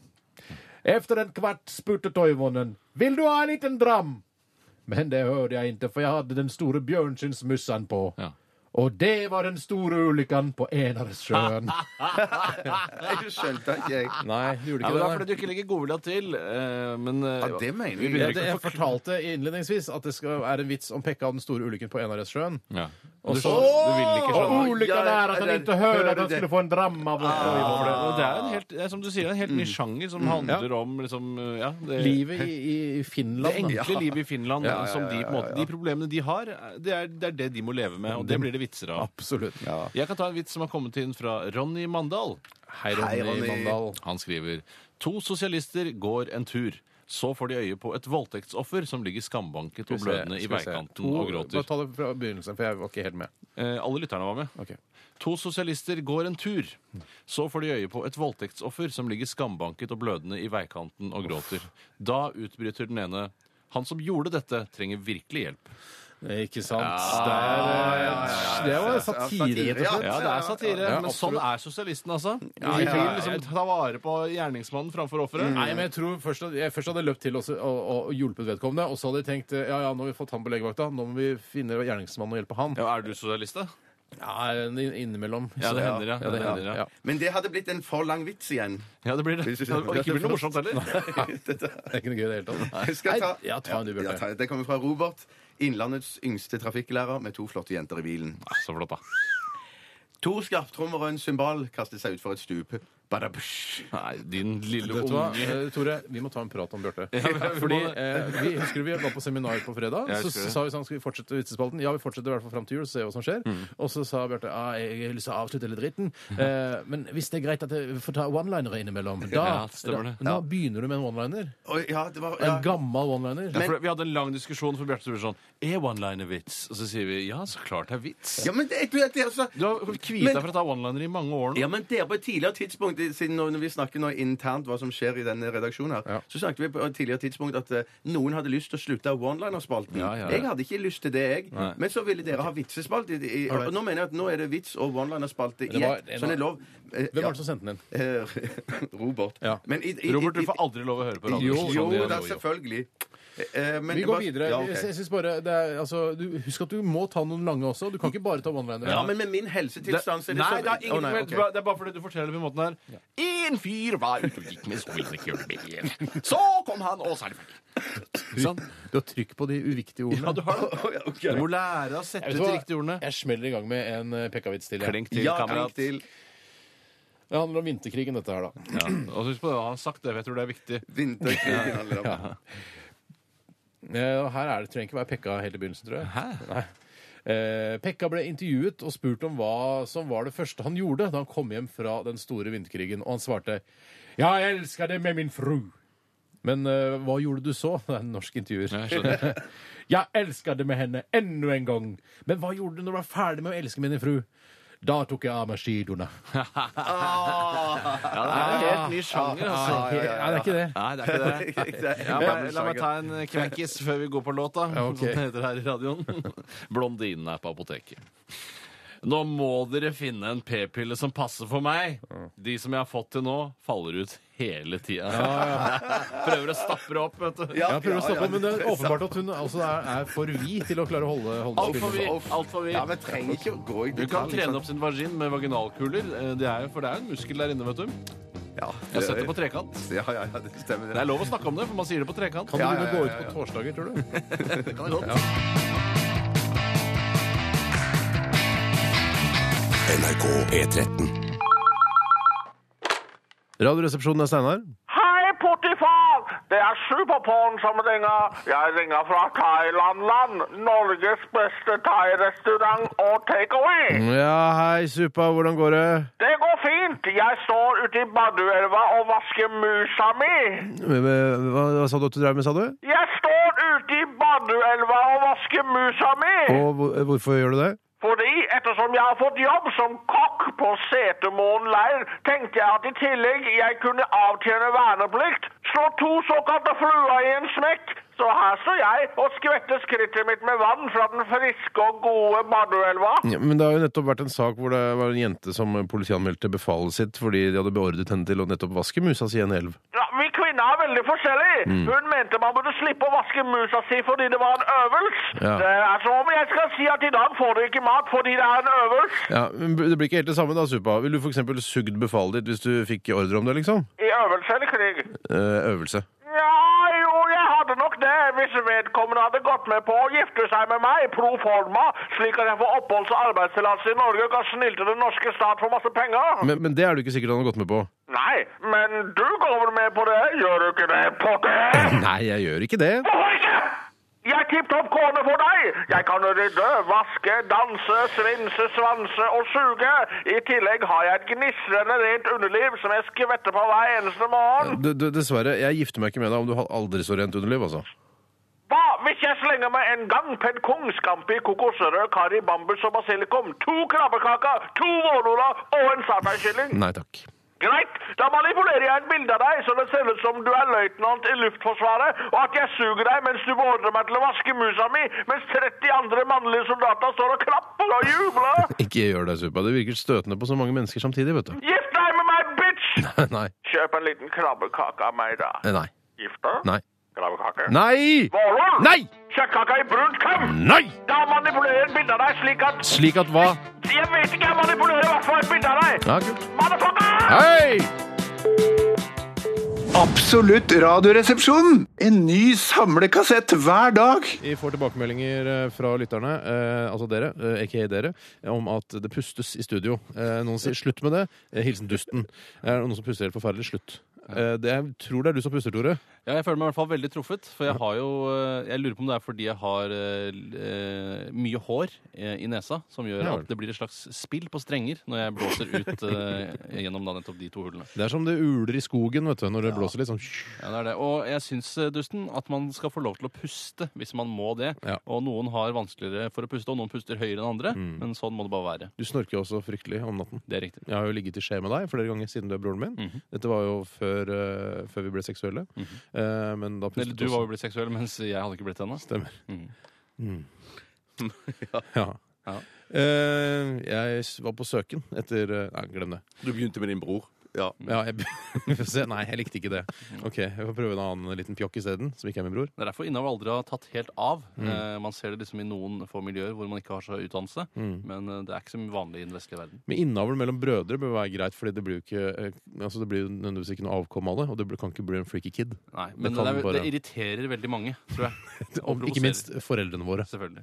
Speaker 1: Efter en kvart spurte Toivonen Vil du ha en liten dram? Men det hørte jeg ikke, for jeg hadde den store bjørnskinnsmyssan på.
Speaker 3: Ja.
Speaker 1: Og det var den store ulykken på Enaresjøen.
Speaker 2: Jeg *laughs* skjønte ikke, jeg.
Speaker 1: Nei, du gjorde
Speaker 3: Ja, men det er fordi du ikke ligger godvilja til. eh, Men eh,
Speaker 2: Ja, det mener
Speaker 3: vi
Speaker 2: jeg.
Speaker 1: Ja,
Speaker 3: begynner
Speaker 1: det,
Speaker 3: ikke
Speaker 1: jeg fortalte innledningsvis at det skal, er en vits om Pekka og den store ulykken på Enaresjøen.
Speaker 3: Ja.
Speaker 1: Og
Speaker 3: Du
Speaker 1: så
Speaker 3: skjønner- du vil ikke skjønne.
Speaker 1: Og ulykken er at han
Speaker 2: Ja,
Speaker 1: ikke
Speaker 2: hører
Speaker 1: hører at han
Speaker 2: det.
Speaker 1: skulle få en dram av å stå i
Speaker 3: Og
Speaker 1: bordet.
Speaker 3: det- og det er en helt, det er, som du sier, en helt ny sjanger som handler om liksom, eh, ja, det,
Speaker 1: Livet i, i Finland.
Speaker 3: det enkle
Speaker 1: da.
Speaker 3: livet i Finland. Som de, på en måte, de problemene de har, det er, det er det de må leve med. Og
Speaker 1: Mm.
Speaker 3: det blir det vitser av.
Speaker 1: Absolutt.
Speaker 3: Jeg kan ta en vits som har kommet inn fra Ronny Mandal.
Speaker 1: Hei, Ronny,
Speaker 2: Ronny.
Speaker 1: Mandal.
Speaker 3: Han skriver To sosialister går en tur. Så får de øye på et voldtektsoffer som ligger skambanket og blødende i
Speaker 1: Skal vi se.
Speaker 3: veikanten
Speaker 1: To-
Speaker 3: og gråter.
Speaker 1: Bare ta det fra begynnelsen, for jeg var ikke helt med.
Speaker 3: Eh, alle lytterne var med.
Speaker 1: Ok.
Speaker 3: To sosialister går en tur. Så får de øye på et voldtektsoffer som ligger skambanket og blødende i veikanten og gråter. Da utbryter den ene Han som gjorde dette, trenger virkelig hjelp.
Speaker 1: Ikke sant? Det, er, eh, det var satire, rett og slett.
Speaker 3: Ja, det er satire,
Speaker 1: ja,
Speaker 3: men sånn er sosialisten, altså. De
Speaker 1: ja, ja.
Speaker 3: vil liksom ta vare på gjerningsmannen framfor offeret.
Speaker 1: Mm. Nei, men jeg tror først at jeg først hadde løpt til også, og, og, og hjulpet vedkommende. Og så hadde jeg tenkt ja, ja, nå har vi fått han på legevakta, nå må vi finne gjerningsmannen og hjelpe han.
Speaker 3: Ja, er du sosialist, da?
Speaker 1: Ja, inn- innimellom.
Speaker 3: Ja, det hender, ja.
Speaker 1: ja, det
Speaker 3: Det
Speaker 1: hender,
Speaker 3: hender,
Speaker 1: ja.
Speaker 3: ja.
Speaker 2: Men det hadde blitt en for lang vits igjen.
Speaker 3: Ja, det blir det.
Speaker 2: Hvis du-
Speaker 3: Og det ikke blir noe
Speaker 2: *laughs*
Speaker 3: morsomt heller.
Speaker 1: Det er ikke noe gøy i det hele tatt.
Speaker 2: Jeg skal ta,
Speaker 1: Nei, ja, ta en du, Bjarte.
Speaker 2: Ja, ta en. det kommer fra Robert, Innlandets yngste trafikklærer med to flotte jenter i bilen.
Speaker 3: Så flott, da.
Speaker 2: To skarptrommer og en cymbal kastet seg utfor et stup. Badabsh.
Speaker 3: Nei, din lille
Speaker 1: Vet du hva,
Speaker 3: unge.
Speaker 1: eh, Tore, vi må ta en prat om
Speaker 3: *laughs*
Speaker 1: Bjarte.
Speaker 3: vi
Speaker 1: Fordi
Speaker 3: må det.
Speaker 1: eh, vi Husker du vi var på seminar på fredag?
Speaker 3: Jeg
Speaker 1: Så
Speaker 3: husker det.
Speaker 1: sa vi sånn, skal vi fortsette vitsespalten? Ja, vi fortsetter i hvert fall fram til jul, så ser vi hva som skjer.
Speaker 3: Mm.
Speaker 1: Og så sa Bjarte ah, jeg har lyst til å avslutte litt dritten, eh, men hvis det er greit at jeg får ta one-linere innimellom,
Speaker 3: *laughs*
Speaker 1: da,
Speaker 3: Ja, stemmer
Speaker 1: da,
Speaker 3: det.
Speaker 1: da begynner du med en one-liner.
Speaker 2: Oi, ja, det var
Speaker 1: En
Speaker 2: ja.
Speaker 1: gammel one-liner.
Speaker 3: Ja, for vi hadde en lang diskusjon for Bjarte Sture sånn Er one-liner-vits? Og så sier vi ja, så klart det er vits.
Speaker 2: ja, men det, det, det, altså,
Speaker 3: Du har kviet
Speaker 2: Men-
Speaker 3: deg for å ta one-liner i mange år nå.
Speaker 2: Ja, men dere på et tidligere tidspunkt, siden nå- når vi snakker nå internt hva som skjer i denne redaksjonen her,
Speaker 1: Ja.
Speaker 2: så snakket vi på et tidligere tidspunkt at eh, noen hadde lyst til å slutte av one-liner-spalten.
Speaker 3: Ja, ja, ja.
Speaker 2: Jeg hadde ikke lyst til det, jeg.
Speaker 3: Nei.
Speaker 2: Men så ville dere ha vitsespalt. I, i,
Speaker 1: Alright.
Speaker 2: og nå mener jeg at nå er det vits og one-liner-spalte i
Speaker 1: Det var
Speaker 2: ett.
Speaker 1: en
Speaker 2: Sånn er
Speaker 1: av-
Speaker 2: lov. Eh,
Speaker 1: Hvem
Speaker 2: ja.
Speaker 1: var det som sendte den inn?
Speaker 2: Eh, *laughs* Robert.
Speaker 1: Ja.
Speaker 2: Men i- i-
Speaker 3: Robert,
Speaker 2: i-
Speaker 3: du får aldri lov å høre på
Speaker 2: Jo,
Speaker 3: radio. Sånn
Speaker 2: jo
Speaker 3: gjør
Speaker 2: da,
Speaker 3: jo, jo.
Speaker 2: selvfølgelig. Eh, men
Speaker 1: Vi
Speaker 2: jeg
Speaker 1: går
Speaker 2: bare-
Speaker 1: videre.
Speaker 2: Ja, ok.
Speaker 1: Jeg- jeg synes bare, det er, altså, du, husk at du må ta noen lange også. Du kan ikke bare ta one-liner.
Speaker 2: ja, men med min helsetilstand sånn, så er det
Speaker 3: Nei, det
Speaker 2: så
Speaker 3: er, ingen,
Speaker 2: Å, nei,
Speaker 3: det
Speaker 2: ok.
Speaker 3: er bare fordi du forteller det på den måten her.
Speaker 12: En fyr var ute og gikk med skolekjølebilen. Så kom han, og så er det ferdig.
Speaker 1: Du har trykk på de uviktige ordene.
Speaker 3: du har *laughs* det. Du må lære å sette ut de riktige ordene.
Speaker 1: Jeg smeller i gang med en eh, pekkavits til. jeg.
Speaker 3: Klink til,
Speaker 2: Ja,
Speaker 3: kamerat.
Speaker 2: klink til.
Speaker 1: Det handler om vinterkrigen, dette her, da.
Speaker 3: Ja. Og husk på det han har sagt, det, for jeg tror det er viktig.
Speaker 2: Vinterkrigen handler det om.
Speaker 1: Eh, og Her er det, trenger ikke være Pekka helt i begynnelsen, tror jeg. Nei. Eh, Pekka ble intervjuet og spurt om hva som var det første han gjorde da han kom hjem fra den store vinterkrigen, og han svarte Ja, jeg elsker det med min fru. Men eh, hva gjorde du så? *laughs* Det er en norsk intervjuer.
Speaker 3: Ja, jeg skjønner.
Speaker 1: *laughs* Jeg elska det med henne enda en gang. Men hva gjorde du når du var ferdig med å elske min fru? Da tok jeg av meg skidoene.
Speaker 2: *laughs*
Speaker 3: Ja, det er en helt ny sjanger, altså.
Speaker 1: Nei, det er ikke det.
Speaker 3: Nei, det er ikke det. *laughs* Ja, men, la meg ta en kvekkis før vi går på låta,
Speaker 1: ok.
Speaker 3: som det heter her i radioen. *laughs* Blondinen er på apoteket. Nå må dere finne en p-pille som passer for meg. De som jeg har fått til nå, faller ut hele tida. *laughs* Prøver å stappe det opp, vet du.
Speaker 1: Jeg prøver å stoppe, men det er åpenbart at hun altså er, er for vid til å klare å holde, holde
Speaker 3: Altfor
Speaker 1: spillet.
Speaker 3: vidt. Alt for
Speaker 2: Ja,
Speaker 3: vidt.
Speaker 2: men trenger ikke å gå i
Speaker 3: Du kan
Speaker 2: detalj,
Speaker 3: trene
Speaker 2: sant?
Speaker 3: opp sin vagin med vaginalkuler, eh, det er, jo- for det er jo en muskel der inne, vet du.
Speaker 2: Ja,
Speaker 3: Jeg har sett det på trekant.
Speaker 2: *laughs* Ja, ja, ja, det stemmer.
Speaker 3: Det er lov å snakke om det, for man sier det på trekant.
Speaker 1: Kan du
Speaker 2: Ja, ja,
Speaker 1: begynne å gå
Speaker 2: ja,
Speaker 1: ut på torsdager, tror du?
Speaker 3: *laughs*
Speaker 6: NRK P13.
Speaker 1: Radioresepsjonen er Steinar.
Speaker 10: Hei, Potifar! Det er Superporn som ringer. Jeg ringer fra Thailand-land. Norges beste thai-restaurant og takeaway.
Speaker 1: Ja, hei, Supa. Hvordan går det?
Speaker 10: Det går fint. Jeg står ute i Baduelva og vasker musa mi.
Speaker 1: Hva, sa du at du drev med, sa du?
Speaker 10: Jeg står ute i Baduelva og vasker musa mi.
Speaker 1: Og hvorfor gjør du det?
Speaker 10: Fordi ettersom jeg har fått jobb som kokk på Setermoen leir, tenkte jeg at i tillegg jeg kunne avtjene verneplikt. Slå to såkalte fluer i en smekk. Så her står jeg og skvetter skrittet mitt med vann fra den friske og gode Barduelva.
Speaker 1: men det har jo nettopp vært en sak hvor det var en jente som politianmeldte befalet sitt fordi de hadde beordret henne til å nettopp vaske musa si i en elv.
Speaker 10: Ja, vi kvinner er veldig forskjellige.
Speaker 1: Mm.
Speaker 10: Hun mente man burde slippe å vaske musa si fordi det var en øvelse.
Speaker 1: Ja.
Speaker 10: Det er som om jeg skal si at i dag får du ikke mat fordi det er en øvelse.
Speaker 1: Ja, men Det blir ikke helt det samme, da, Supa. Ville du f.eks. sugd befalet ditt hvis du fikk ordre om det, liksom?
Speaker 10: I øvelse eller krig?
Speaker 1: Eh, øvelse.
Speaker 10: Ja, jo, jeg hadde nok det hvis vedkommende hadde gått med på å gifte seg med meg pro forma, slik at jeg får oppholds- og arbeidstillatelse i Norge og kan snylte den norske stat for masse penger.
Speaker 1: Men, men det er du ikke sikkert han har gått med på.
Speaker 10: Nei, men du går vel med på det? Gjør du ikke det, potte?
Speaker 1: Nei, jeg gjør ikke det.
Speaker 10: Hvorfor ikke? Jeg er tipp topp kone for deg! Jeg kan rydde, vaske, danse, svinse, svanse og suge. I tillegg har jeg et gnistrende rent underliv som jeg skvetter på hver eneste morgen.
Speaker 1: Du, du, dessverre, jeg gifter meg ikke med deg om du har aldri så rent underliv, altså.
Speaker 10: Hva hvis jeg slenger meg en gang pedd kong, skampi, kokosrød, kari, bambus og basilikum, to krabbekaker, to vårnoler og en sarteinkylling?
Speaker 1: Nei takk.
Speaker 10: Greit, da manipulerer jeg et bilde av deg så det ser ut som du er løytnant i Luftforsvaret, og at jeg suger deg mens du beordrer meg til å vaske musa mi, mens 30 andre mannlige soldater står og klapper og jubler.
Speaker 1: Ikke gjør det, Supa. Det virker støtende på så mange mennesker samtidig, vet du. *laughs*
Speaker 10: Gift deg med meg, bitch!
Speaker 1: Nei.
Speaker 10: Kjøp en liten krabbekake av meg, da.
Speaker 1: Nei.
Speaker 10: Gift deg?
Speaker 1: Nei.
Speaker 10: Krabbekake?
Speaker 1: Nei!
Speaker 10: Vårnål?
Speaker 1: Nei!
Speaker 10: Kjøttkaka i brunt kam?
Speaker 1: Nei!
Speaker 10: Da manipulerer jeg et bilde av deg slik at
Speaker 1: Slik at hva?
Speaker 10: Jeg vet ikke, jeg manipulerer i hvert fall et bilde av deg!
Speaker 1: Ja, kult.
Speaker 10: Motherfucker!
Speaker 1: Hei!
Speaker 4: Absolutt radioresepsjon. En ny samlekassett hver dag.
Speaker 1: Vi får tilbakemeldinger eh, fra lytterne, eh, altså dere, eh, aka dere, om at det pustes i studio. Eh, noen sier 'slutt med det'. Eh, hilsen Dusten. Er det noen som puster helt forferdelig? Slutt. Eh, det, jeg tror det er du som puster, Tore.
Speaker 3: Ja, jeg føler meg i hvert fall veldig truffet, for jeg har jo eh, Jeg lurer på om det er fordi jeg har eh, l- eh, mye hår eh, i nesa, som gjør
Speaker 1: Ja vel.
Speaker 3: at det blir et slags spill på strenger når jeg blåser ut eh, gjennom da nettopp de to hullene.
Speaker 1: Det er som det uler i skogen vet du, når det blåser litt sånn.
Speaker 3: Ja, det er det. Og jeg syns, eh, Dusten, at man skal få lov til å puste hvis man må det.
Speaker 1: Ja.
Speaker 3: Og noen har vanskeligere for å puste, og noen puster høyere enn andre, men sånn må det bare være.
Speaker 1: Du snorker jo også fryktelig om natten.
Speaker 3: Det Mhm. er riktig.
Speaker 1: Jeg har jo ligget i skje med deg flere ganger siden du er broren min. Dette var jo før, eh, før vi ble seksuelle. Eh, men da
Speaker 3: Mhm.
Speaker 1: pustet
Speaker 3: Eller du var jo blitt seksuell, mens jeg hadde ikke blitt det ennå.
Speaker 1: Stemmer.
Speaker 3: Mhm.
Speaker 1: Mm. ja.
Speaker 3: *laughs* Ja.
Speaker 1: Eh, jeg s- var på søken etter eh, Nei, glem det.
Speaker 2: Du begynte med din bror. Ja.
Speaker 1: Ja, jeg, *laughs* vi får se. Nei, jeg likte ikke det. Ok, Jeg får prøve en annen liten pjokk isteden, som ikke er min bror.
Speaker 3: Det er derfor innavl aldri har tatt helt av.
Speaker 1: Mm.
Speaker 3: Eh, man ser det liksom i noen få miljøer hvor man ikke har så høy utdannelse,
Speaker 1: Mm.
Speaker 3: men eh, det er ikke så mye vanlig i den vestlige verden.
Speaker 1: Men innavl mellom brødre bør være greit, Fordi det blir jo ikke eh, Altså det blir jo nødvendigvis ikke noe avkom av det, og det blir- kan ikke bli en freaky kid.
Speaker 3: Nei, men
Speaker 1: kan
Speaker 3: det, er,
Speaker 1: bare-
Speaker 3: det irriterer veldig mange,
Speaker 1: *laughs*
Speaker 3: tror jeg.
Speaker 1: Og ikke minst foreldrene våre.
Speaker 3: Selvfølgelig.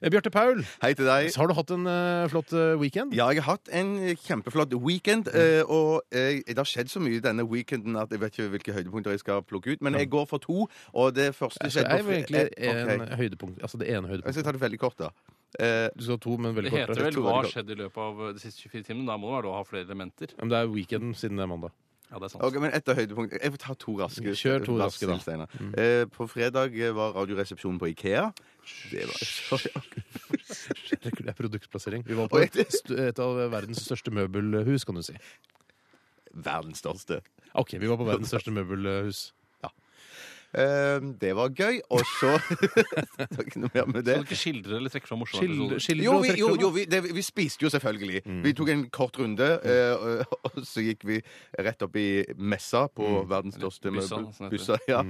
Speaker 1: Eh, Bjarte Paul,
Speaker 2: Hei til deg.
Speaker 1: har du hatt en eh, flott eh, weekend?
Speaker 2: Ja, jeg har hatt en kjempeflott weekend,
Speaker 3: Mm.
Speaker 2: eh, og eh, det har skjedd så mye denne weekenden at jeg vet ikke hvilke høydepunkter jeg skal plukke ut, men jeg går for to, og det første
Speaker 1: Så det
Speaker 2: skjedde
Speaker 1: er jo
Speaker 2: på
Speaker 1: egentlig
Speaker 2: fre- eh,
Speaker 1: en
Speaker 2: ok.
Speaker 1: høydepunkt. Altså det ene
Speaker 2: Jeg skal
Speaker 1: høydepunktet.
Speaker 2: ta det veldig kort, da. Eh,
Speaker 1: Du skal ha to, men
Speaker 3: Det
Speaker 1: veldig
Speaker 3: heter
Speaker 1: kort.
Speaker 3: vel
Speaker 2: tror
Speaker 3: 'Hva har
Speaker 2: veldig
Speaker 3: skjedd i løpet av eh, de siste 24 timene'? Da må det være lov å ha flere elementer.
Speaker 1: Men det er weekenden siden det er mandag.
Speaker 3: Ja, det er sant.
Speaker 2: ok, men etter høydepunkt Jeg får ta to raske.
Speaker 1: Kjør to raske, da.
Speaker 2: Steinar. Eh, på fredag eh, var Radioresepsjonen på Ikea. Det var
Speaker 1: Det er produktplassering. Vi var på
Speaker 2: Oi.
Speaker 1: et, st- et av verdens største møbelhus, kan du si.
Speaker 2: verdens største.
Speaker 1: Ok, vi var på verdens største møbelhus.
Speaker 2: Eh, det var gøy, og så *laughs* Det var ikke noe mer med det.
Speaker 3: Kan du ikke skildre eller trekke fram morsomme
Speaker 1: Skildre,
Speaker 3: episoder?
Speaker 1: skildre
Speaker 2: Jo,
Speaker 1: og
Speaker 2: vi,
Speaker 1: trekke
Speaker 2: jo,
Speaker 1: fram.
Speaker 2: jo vi, det, vi spiste jo selvfølgelig. Vi tok en kort runde, eh, *laughs* og- og så gikk vi rett opp i messa på verdens største
Speaker 3: Eller byssa,
Speaker 2: møbel-
Speaker 3: som det heter.
Speaker 2: byssa, ja.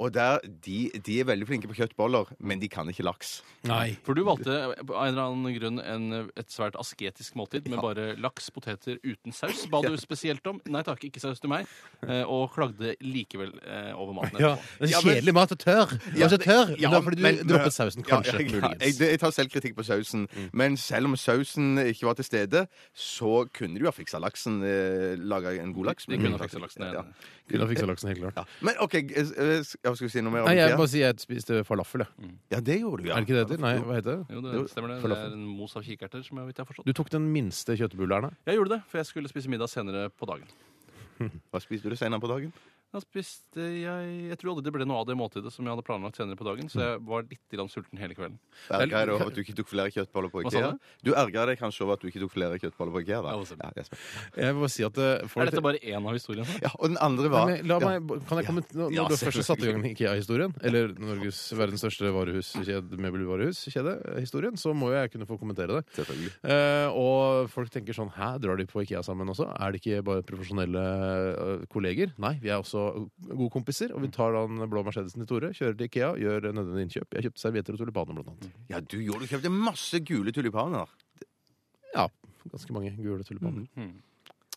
Speaker 2: Og der, de, de er veldig flinke på kjøttboller, men de kan ikke laks.
Speaker 1: Nei.
Speaker 3: For du valgte eh, av en eller annen grunn en, et svært asketisk måltid med bare laks, poteter uten saus. Ba du spesielt om? Nei takk, ikke saus til meg. Eh, Og klagde likevel eh, over maten.
Speaker 1: Ja,
Speaker 3: etterpå.
Speaker 1: det er
Speaker 2: Ja, men-
Speaker 1: Kjedelig mat og tørr. Ja, så tørr. Men det var fordi du
Speaker 2: men-
Speaker 1: droppet sausen,
Speaker 2: Ja,
Speaker 1: kanskje.
Speaker 2: jeg, jeg,
Speaker 1: muligens. Mm.
Speaker 2: jeg, jeg tar selvkritikk på sausen. Men selv om sausen ikke var til stede, så kunne du ha fiksa laksen. Eh, Laga en god laks.
Speaker 3: De kunne ha fiksa laksen, jeg er
Speaker 2: Ja.
Speaker 3: enig.
Speaker 1: Kunne ha fiksa laksen, helt klart.
Speaker 2: Ja. Men OK, eh, eh, skal vi si noe mer om
Speaker 1: Nei, jeg
Speaker 2: det?
Speaker 1: vil bare si jeg spiste falafel, jeg.
Speaker 2: Ja, det gjorde du, ja.
Speaker 1: Er det ikke det det heter? Nei, hva heter det?
Speaker 3: Jo, det stemmer det. Det
Speaker 1: falafel.
Speaker 3: er en mos av kikerter, som jeg, vet jeg har forstått.
Speaker 1: Du tok den minste kjøttbulleren, da?
Speaker 3: Jeg gjorde det, for jeg skulle spise middag senere på dagen.
Speaker 2: Hva spiste du senere på dagen?
Speaker 3: Da spiste jeg Jeg tror aldri det ble noe av det måltidet som jeg hadde planlagt senere på dagen, så jeg var litt grann sulten hele kvelden.
Speaker 2: Erger deg over at du ikke tok flere kjøttboller på
Speaker 3: Hva sa
Speaker 2: Ikea? Du erger deg kanskje over at du ikke tok flere kjøttboller på Ikea? Da?
Speaker 3: Ja, hva sa du?
Speaker 2: Ja, Jesper.
Speaker 1: Jeg vil bare si at eh, folk-
Speaker 3: Er dette bare én av historiene?
Speaker 2: ja, og den andre
Speaker 1: Nei,
Speaker 2: var
Speaker 1: men La meg, kan jeg
Speaker 2: Ja.
Speaker 1: komme, når
Speaker 2: Ja,
Speaker 1: når du først
Speaker 2: selvfølgelig.
Speaker 1: satte i gang IKEA-historien, eller Norges verdens største varehuskjede, møbelvarehuskjede, eh, historien, så må jo jeg kunne få kommentere det.
Speaker 2: Selvfølgelig.
Speaker 1: Eh, og folk tenker sånn Hæ, drar de på Ikea sammen også? Er det ikke bare profesjonelle eh, kolleger? Nei, vi er også gode kompiser, og vi tar den blå Mercedesen til Tore, kjører til Ikea, gjør nødvendige innkjøp. Jeg kjøpte servietter og tulipaner, blant annet.
Speaker 2: Ja, du gjorde Du kjøpte masse gule tulipaner.
Speaker 1: Ja, ganske mange gule tulipaner.
Speaker 2: Mm.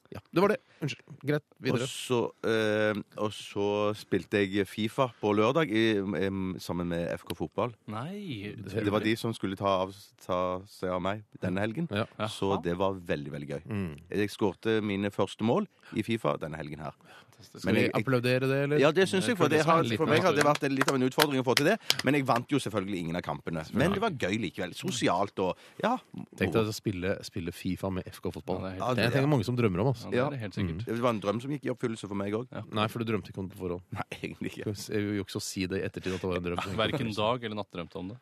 Speaker 1: Ja, det var det. Unnskyld. Greit,
Speaker 2: Og
Speaker 1: videre.
Speaker 2: så, eh, og så spilte jeg Fifa på lørdag i, em, sammen med FK Fotball.
Speaker 3: Nei.
Speaker 2: Det var de som skulle ta, av, ta seg av meg denne helgen.
Speaker 1: Ja. Mm.
Speaker 2: Så det var veldig, veldig gøy. Jeg skårte mine første mål i Fifa denne helgen her.
Speaker 1: Skal vi applaudere det, eller?
Speaker 2: Ja, det syns jeg. For, det har, for meg har det vært en- litt av en utfordring å få til det. Men jeg vant jo selvfølgelig ingen av kampene. Men det var gøy likevel. Sosialt og ja.
Speaker 1: Tenk deg å spille, spille Fifa med FK-fotball.
Speaker 3: Ja, det er
Speaker 1: det, er tenker mange som drømmer om. Altså.
Speaker 3: Ja, det er det helt sikkert.
Speaker 2: Det var en drøm som gikk i oppfyllelse for meg òg.
Speaker 1: Nei, for du drømte ikke om det på forhånd.
Speaker 2: Nei, egentlig ikke.
Speaker 1: Jeg vil jo ikke så si det i ettertid at det var en drøm.
Speaker 3: Verken dag eller natt drømte om det.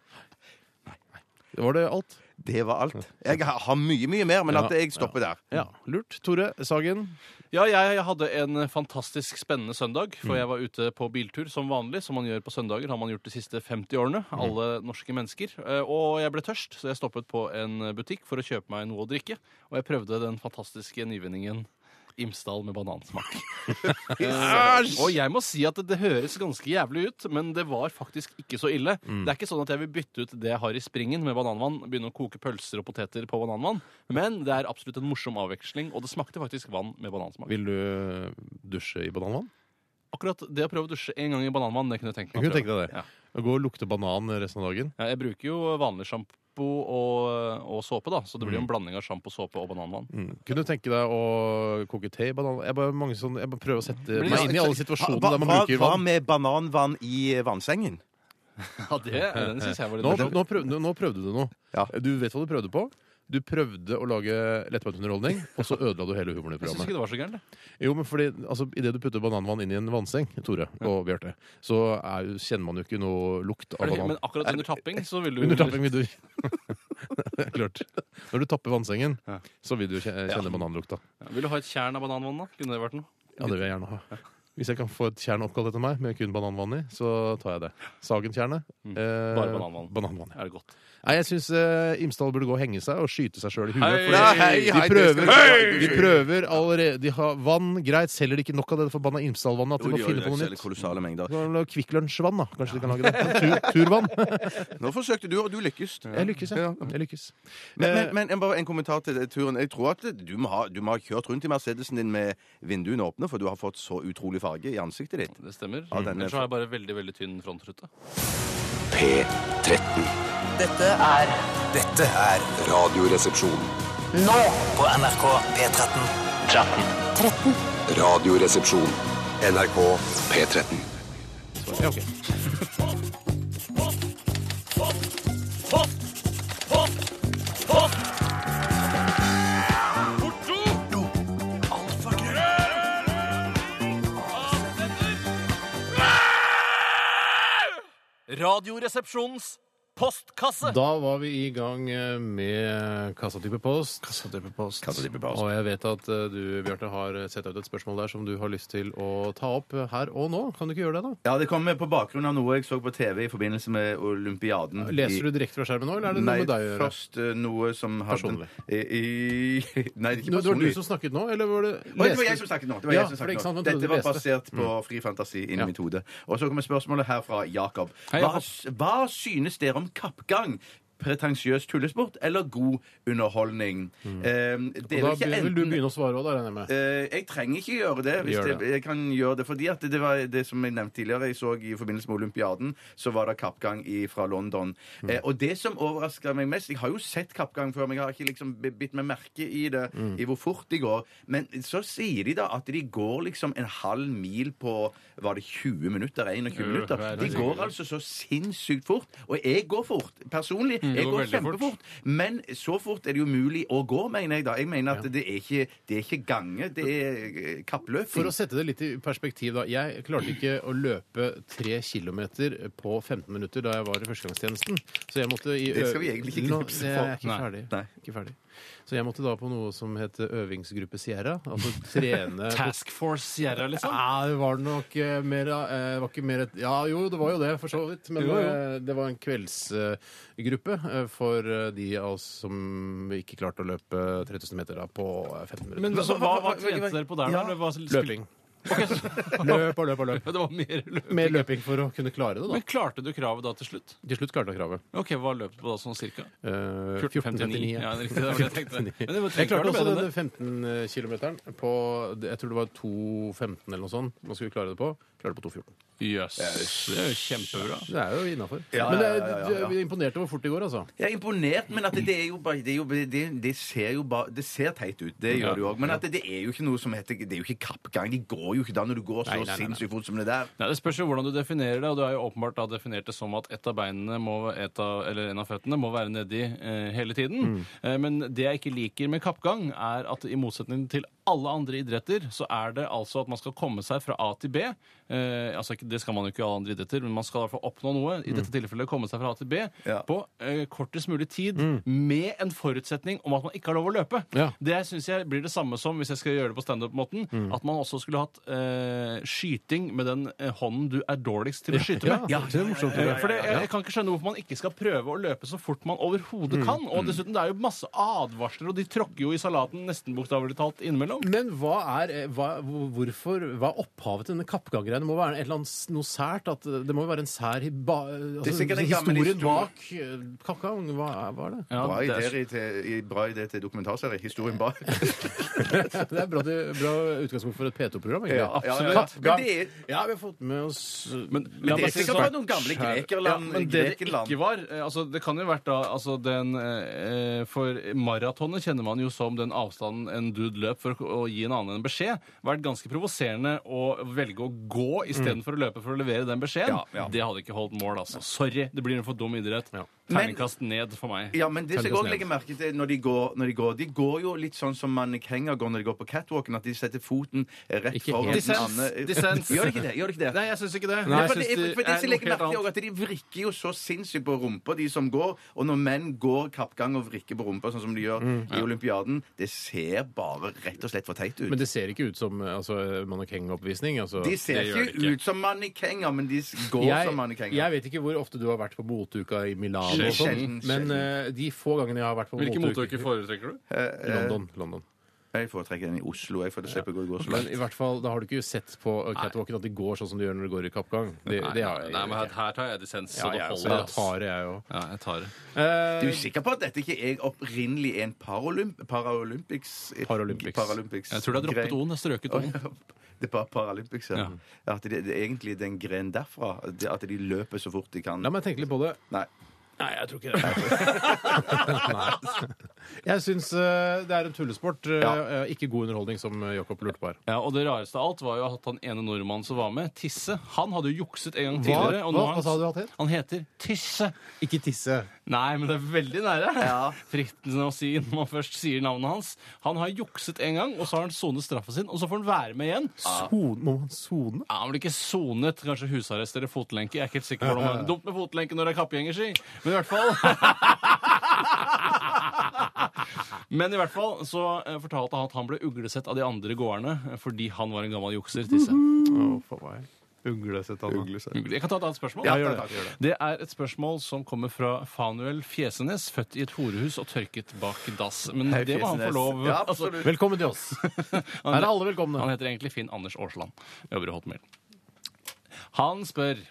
Speaker 1: Var det alt?
Speaker 2: Det var alt. Jeg har har mye, mye mer, men
Speaker 1: Ja.
Speaker 2: at jeg stopper der.
Speaker 1: Ja, Lurt. Tore Sagen.
Speaker 3: Ja, jeg hadde en fantastisk spennende søndag, for jeg var ute på biltur som vanlig, som man gjør på søndager, har man gjort de siste 50 årene, alle norske mennesker. Eh, Og jeg ble tørst, så jeg stoppet på en butikk for å kjøpe meg noe å drikke, og jeg prøvde den fantastiske nyvinningen Imsdal med banansmak. Eh, og jeg må si at det, det høres ganske jævlig ut, men det var faktisk ikke så ille. Det er ikke sånn at jeg vil bytte ut det jeg har i springen med bananvann, begynne å koke pølser og poteter på bananvann, men det er absolutt en morsom avveksling, og det smakte faktisk vann med banansmak.
Speaker 1: Vil du eh, dusje i bananvann?
Speaker 3: Akkurat det å prøve å dusje en gang i bananvann, det kunne jeg tenkt meg. å
Speaker 1: Jeg kunne
Speaker 3: prøve.
Speaker 1: tenke deg det.
Speaker 3: Ja.
Speaker 1: Å Gå og lukte banan resten av dagen.
Speaker 3: Ja, jeg bruker jo vanlig sjampo og, og såpe, da, så det blir jo en blanding av sjampo, såpe og bananvann.
Speaker 1: Mm. Kunne du tenke deg å koke te i banan? Jeg bare, mange sånn, jeg bare prøver å sette
Speaker 3: Men
Speaker 1: meg
Speaker 3: ja,
Speaker 1: inn i alle
Speaker 2: Hva,
Speaker 1: situasjoner
Speaker 2: liksom hva,
Speaker 1: der man
Speaker 2: hva,
Speaker 1: bruker
Speaker 2: hva
Speaker 1: vann.
Speaker 2: med bananvann i vannsengen?
Speaker 3: Ja, det, den synes jeg var
Speaker 1: Nå,
Speaker 3: litt
Speaker 1: nå, prøvde, nå prøvde du noe.
Speaker 2: Ja.
Speaker 1: Du vet hva du prøvde på. Du prøvde å lage lettbeint underholdning, og så ødela du hele humoren i
Speaker 3: Jeg syns
Speaker 1: programmet.
Speaker 3: ikke det var så gærent. det.
Speaker 1: Jo, men fordi, altså, Idet du putter bananvann inn i en vannseng, Tore og Bjarte, så er, jo- kjenner man jo ikke noe lukt av
Speaker 3: Er det-
Speaker 1: banan.
Speaker 3: Men akkurat under tapping så vil du
Speaker 1: Under tapping vil du *laughs* Det er Klart. Når du tapper vannsengen,
Speaker 3: Ja.
Speaker 1: så vil du kje- kjenne bananlukta.
Speaker 3: Ja, Vil du ha et tjern av bananvann, da? Kunne det vært noe?
Speaker 1: Ja, det vil jeg gjerne ha. Hvis jeg kan få et tjern oppkalt etter meg med kun bananvann i, så tar jeg det. Sagentjernet. Eh,
Speaker 3: Mm. Bare bananvann.
Speaker 1: bananvann ja.
Speaker 3: Er det godt?
Speaker 1: Nei, jeg syns Imsdal burde gå og henge seg og skyte seg sjøl i huet.
Speaker 3: Hei!
Speaker 1: fordi-
Speaker 2: Nei, hei,
Speaker 1: De
Speaker 2: hei, det skal
Speaker 1: prøver,
Speaker 2: du ikke-
Speaker 1: de prøver allerede De har vann, greit, selger de ikke nok av det forbanna Imsdal-vannet at de
Speaker 2: Jo,
Speaker 1: må
Speaker 2: de gjør
Speaker 1: finne
Speaker 2: det,
Speaker 1: på noe
Speaker 2: selger
Speaker 1: nytt?
Speaker 2: Kolossale mengder.
Speaker 1: Nå er det Kvikk Lunsj-vann, da. Kanskje de kan lage det? Tur, turvann.
Speaker 2: Nå forsøkte du, og du lykkes.
Speaker 1: Jeg lykkes, jeg. jeg lykkes.
Speaker 2: Eh, Men, men, men en- bare en kommentar til det, turen. Jeg tror at du må, ha, du må ha kjørt rundt i Mercedesen din med vinduene åpne, for du har fått så utrolig farge i ansiktet ditt.
Speaker 3: Det stemmer.
Speaker 2: Ja, den er-
Speaker 3: Ellers så har jeg bare veldig veldig tynn frontrute.
Speaker 6: P13.
Speaker 13: Dette er Dette er
Speaker 6: Radioresepsjon.
Speaker 13: Nå på NRK P13
Speaker 6: Radioresepsjon. NRK P13.
Speaker 1: Ja, ok.
Speaker 13: Radioresepsjonens postkasse
Speaker 1: Da var vi i gang eh, med kassatype post. Og jeg vet at eh, du, Bjarte, har sett ut et spørsmål der som du har lyst til å ta opp eh, her og nå. Kan du ikke gjøre det, da?
Speaker 2: Ja, det kom på bakgrunn av noe jeg så på TV i forbindelse med olympiaden.
Speaker 1: Leser du direkte fra skjermen nå, eller er det noe med deg å gjøre?
Speaker 2: først eh, noe som hadde
Speaker 1: Personlig.
Speaker 2: I, *laughs* i, nei, det er
Speaker 1: Nå,
Speaker 2: ikke
Speaker 1: det var du
Speaker 2: personlig.
Speaker 1: som snakket nå, eller var det
Speaker 2: Oi, det var jeg som snakket nå. Det var
Speaker 1: Ja,
Speaker 2: jeg som
Speaker 1: for
Speaker 2: snakket
Speaker 1: ikke sant,
Speaker 2: nå.
Speaker 1: man trodde
Speaker 2: Dette var
Speaker 1: du leste.
Speaker 2: basert på fri fantasi inni
Speaker 1: Ja.
Speaker 2: mitt hode. Og så kommer spørsmålet her fra Jakob.
Speaker 3: Hei,
Speaker 2: Hva,
Speaker 3: Jakob.
Speaker 2: hva synes dere om kappgang? Pretensiøs tullesport eller god underholdning? Eh, det er
Speaker 1: Mm. Og
Speaker 2: vel
Speaker 1: Da
Speaker 2: ikke
Speaker 1: vil du
Speaker 2: enten-
Speaker 1: begynne å svare òg, da, regner jeg med.
Speaker 2: Eh, jeg trenger ikke gjøre det. Hvis
Speaker 1: Gjør
Speaker 2: det.
Speaker 1: det.
Speaker 2: Jeg, kan gjøre det fordi at det var det som jeg nevnte tidligere, jeg så i forbindelse med Olympiaden, så var det kappgang i, fra London.
Speaker 3: Mm.
Speaker 2: Eh, og det som overraska meg mest Jeg har jo sett kappgang før, men jeg har ikke liksom bi- bitt meg merke i det,
Speaker 3: Mm.
Speaker 2: i hvor fort de går. Men så sier de da at de går liksom en halv mil på Var det 20 minutter? 21 minutter?
Speaker 3: det Øh, er
Speaker 2: De
Speaker 3: det
Speaker 2: går
Speaker 3: sikkert.
Speaker 2: altså så sinnssykt fort. Og jeg går fort, personlig. Jeg
Speaker 3: Mm, går
Speaker 2: går
Speaker 3: veldig
Speaker 2: kjempefort.
Speaker 3: fort.
Speaker 2: Men så fort er det jo umulig å gå, mener jeg da. Jeg mener at det, er ikke, det er ikke gange, det er eh,
Speaker 1: For
Speaker 2: kappløping.
Speaker 1: å sette det litt i perspektiv, da. Jeg klarte ikke å løpe tre kilometer på 15 minutter da jeg var i førstegangstjenesten. Så jeg måtte i
Speaker 2: Det skal vi egentlig ikke
Speaker 1: Nå-
Speaker 2: knipse
Speaker 1: jeg er
Speaker 2: folk.
Speaker 1: ikke ferdig.
Speaker 2: Nei.
Speaker 1: ikke ferdig. Så jeg måtte da på noe som het øvingsgruppe Sierra. *laughs* Altså trene på
Speaker 3: Task Force Sierra, liksom.
Speaker 1: Ja, det var nok eh, mer, eh, var ikke mer et, Ja, jo, det var jo det, for så vidt. Men
Speaker 3: Jo, jo.
Speaker 1: eh, det var en kveldsgruppe for eh, de av oss som ikke klarte å løpe 3000 meter da, på eh, 15 minutter.
Speaker 3: Men så, hva, hva trente dere på der, da? Eller hva-
Speaker 1: løping.
Speaker 3: *laughs*
Speaker 1: løp og løp og løp.
Speaker 3: Ja, Det var mer løping.
Speaker 1: Mer løping for å kunne klare det, da.
Speaker 3: Men klarte du kravet da til slutt?
Speaker 1: Til slutt klarte jeg kravet.
Speaker 3: Ok, Hva løp du på da, sånn cirka?
Speaker 1: Eh,
Speaker 3: 14.59. *laughs* Ja,
Speaker 1: *laughs*
Speaker 3: det er riktig, det var det jeg tenkte. Men det var-
Speaker 1: jeg klarte
Speaker 3: var det
Speaker 1: også
Speaker 3: bedre
Speaker 1: den 15 kilometeren på Jeg tror det var 2.15 eller noe sånt. Man skulle klare det på. Klarte det på 2.14.
Speaker 3: Jøss. Det er jo kjempebra.
Speaker 1: Det er jo innafor.
Speaker 2: Ja,
Speaker 1: Men det,
Speaker 2: ja, ja, ja, ja.
Speaker 1: vi er imponert over hvor fort det går, altså.
Speaker 2: Jeg er imponert, men at det er jo bare Det, er jo, det, det ser jo bare Det ser teit ut, det gjør det jo òg. Men at det, det er jo ikke noe som heter Det er jo ikke kappgang. De går jo ikke da når du går så
Speaker 1: Nei, nei, nei, nei.
Speaker 2: sinnssykt fort som det der.
Speaker 3: Nei, Det spørs jo hvordan du definerer det, og du har jo åpenbart da definert det som at ett av beinene må, et av, eller en av føttene må være nedi eh, hele tiden. Eh, men det jeg ikke liker med kappgang, er at i motsetning til alle andre idretter, så er det altså at man skal komme seg fra A til B. Eh, altså, ikke- det skal man jo ikke i alle andre idretter, men man skal i hvert fall oppnå noe. I dette tilfellet komme seg fra A til B
Speaker 2: Ja.
Speaker 3: på eh, kortest mulig tid med en forutsetning om at man ikke har lov å løpe.
Speaker 1: Ja. Mm.
Speaker 3: Det syns jeg blir det samme som hvis jeg skal gjøre det på standup-måten. At man også skulle hatt eh, skyting med den eh, hånden du er dårligst til å skyte med.
Speaker 1: Ja, det er morsomt.
Speaker 3: Eh, For det, jeg, jeg kan ikke skjønne hvorfor man ikke skal prøve å løpe så fort man overhodet
Speaker 1: Mm.
Speaker 3: kan. Og dessuten, det er jo masse advarsler, og de tråkker jo i salaten nesten bokstavelig talt innimellom.
Speaker 1: Men hva er eh, hva, hvor- hvorfor, hva er opphavet til denne kappganggreia? Det må være et eller annet, s- noe sært? At eh, det må jo være en sær hi- ba,
Speaker 2: Det
Speaker 1: altså,
Speaker 2: er sikkert en gammel
Speaker 1: historien
Speaker 2: historie.
Speaker 1: bak eh, kappgang. Hva, er- hva er det?
Speaker 3: Ja,
Speaker 2: Bra
Speaker 3: det er-
Speaker 2: idé til, bra idé til dokumentarserie. Historien
Speaker 1: *laughs*
Speaker 2: bak.
Speaker 1: Det er bra, det- bra utgangspunkt for et P2-program. egentlig.
Speaker 2: Ja, ja, ja.
Speaker 1: Kappgang.
Speaker 2: Men det er-
Speaker 1: Ja, vi har fått med oss
Speaker 3: Men,
Speaker 1: La
Speaker 2: Det
Speaker 1: meg
Speaker 2: er
Speaker 1: si det
Speaker 2: sikkert
Speaker 1: sånn.
Speaker 2: bare noen gamle
Speaker 3: Ja,
Speaker 2: grekerland.
Speaker 3: men det det
Speaker 2: Grekenland.
Speaker 3: ikke var eh, altså Det kan jo vært da altså den, eh, For maratonet kjenner man jo som den avstanden en dude løp for å, å gi en annen en beskjed. Vært ganske provoserende å velge å gå istedenfor å løpe for å levere den beskjeden.
Speaker 2: Ja, ja.
Speaker 3: Det hadde ikke holdt mål, altså. Sorry, det blir en for dum idrett.
Speaker 2: Men-
Speaker 3: Terningkast ned for meg.
Speaker 2: Ja, men det skal jeg
Speaker 1: Tørkes
Speaker 2: også
Speaker 1: ned.
Speaker 2: legge merke til når de går. Når de, går. de går jo litt sånn som mannekenger går når de går på catwalken, at de setter foten rett
Speaker 1: Ikke
Speaker 2: foran
Speaker 1: helt.
Speaker 2: den
Speaker 3: Dissens,
Speaker 2: andre. *laughs*
Speaker 3: dissens.
Speaker 2: Gjør de ikke det? Gjør de ikke det?
Speaker 3: Nei, jeg syns ikke det.
Speaker 2: Nei,
Speaker 3: jeg
Speaker 2: for, det, for,
Speaker 3: synes
Speaker 2: for det som
Speaker 3: er noe
Speaker 2: legger
Speaker 3: helt
Speaker 2: merke til
Speaker 3: annet.
Speaker 2: også at De vrikker jo så sinnssykt på rumpa, de som går. Og når menn går kappgang og vrikker på rumpa, sånn som de gjør
Speaker 3: Mm.
Speaker 2: i Olympiaden, det ser bare rett og slett for teit ut.
Speaker 1: Men det ser ikke ut som eh, altså, mannekengoppvisning. Altså.
Speaker 2: de ser
Speaker 3: det gjør
Speaker 2: ikke,
Speaker 3: det ikke.
Speaker 2: ut som mannekenger, men de s- går som
Speaker 1: jeg,
Speaker 2: mannekenger.
Speaker 1: jeg vet ikke hvor ofte du har vært på motuka i Milano og sånn.
Speaker 2: Sjelden,
Speaker 1: Men eh, de få gangene jeg har vært på Eh,
Speaker 3: Hvilke motuker
Speaker 1: motuker
Speaker 3: foretrekker du?
Speaker 1: London, London.
Speaker 2: Jeg foretrekker den i Oslo, jeg, for da slipper jeg å gå i Oslo.
Speaker 1: Men i hvert fall, da har du ikke sett på eh, catwalken at de går sånn som de gjør når de går i kappgang. Det, det har jeg
Speaker 3: Nei, men her,
Speaker 1: ikke.
Speaker 3: her tar jeg dissens,
Speaker 1: Ja,
Speaker 3: så det
Speaker 1: jeg, så
Speaker 3: holder.
Speaker 1: da
Speaker 3: ass.
Speaker 1: tar det jeg Eh, òg.
Speaker 3: Ja, jeg tar det.
Speaker 2: Du er sikker på at dette ikke er opprinnelig en paralymp Paralympics?
Speaker 1: Paralympics.
Speaker 2: Paralympics
Speaker 3: Jeg tror det er droppet
Speaker 2: gren.
Speaker 3: O-en. Jeg strøket
Speaker 2: Å,
Speaker 3: O-en.
Speaker 2: ja. *laughs* Det er bare Paralympics, ja. At det, det er egentlig den grenen derfra. det- At de løper så fort de kan.
Speaker 1: La meg tenke litt på det.
Speaker 2: Nei.
Speaker 1: *laughs* Nei, jeg tror ikke det. *laughs* Jeg syns eh, det er en tullesport. eh, eh, Ikke god underholdning, som eh, Jakob lurte på her.
Speaker 3: *laughs* Ja, og det rareste av alt var jo at han ene nordmannen som var med, Tisse, han hadde jo jukset en gang
Speaker 1: Hva?
Speaker 3: tidligere.
Speaker 1: Hva? Hva sa du at het?
Speaker 3: han heter Tisse.
Speaker 1: Ikke tisse.
Speaker 3: Nei, men det er veldig nære. *laughs* Fristende å si når man først sier navnet hans. Han har jukset en gang, og så har han sonet straffen sin, og så får han være med igjen.
Speaker 2: Ah.
Speaker 1: Sone? Må man sone?
Speaker 3: Ja, han blir ikke sonet. Kanskje husarrest eller fotlenke. Jeg er ikke helt sikker på hvordan
Speaker 1: *laughs*
Speaker 3: man Dumt med fotlenke når det er kappgjengerski, men i hvert fall Men i hvert fall så eh, fortalte han at han ble uglesett av de andre gårdene eh, fordi han var en gammel jukser. Tisse.
Speaker 1: Uglesett, Anna.
Speaker 3: Jeg kan ta et annet spørsmål.
Speaker 1: Ja, gjør det.
Speaker 3: Det er et spørsmål som kommer fra Fanuel Fjesenes, født i et horehus og tørket bak dass. Men det må han få lov
Speaker 2: Ja,
Speaker 3: altså,
Speaker 2: absolutt.
Speaker 1: Velkommen til *laughs* oss. Her er alle velkomne.
Speaker 3: Han heter egentlig Finn Anders Aasland. Jobber i Hotmail. Han spør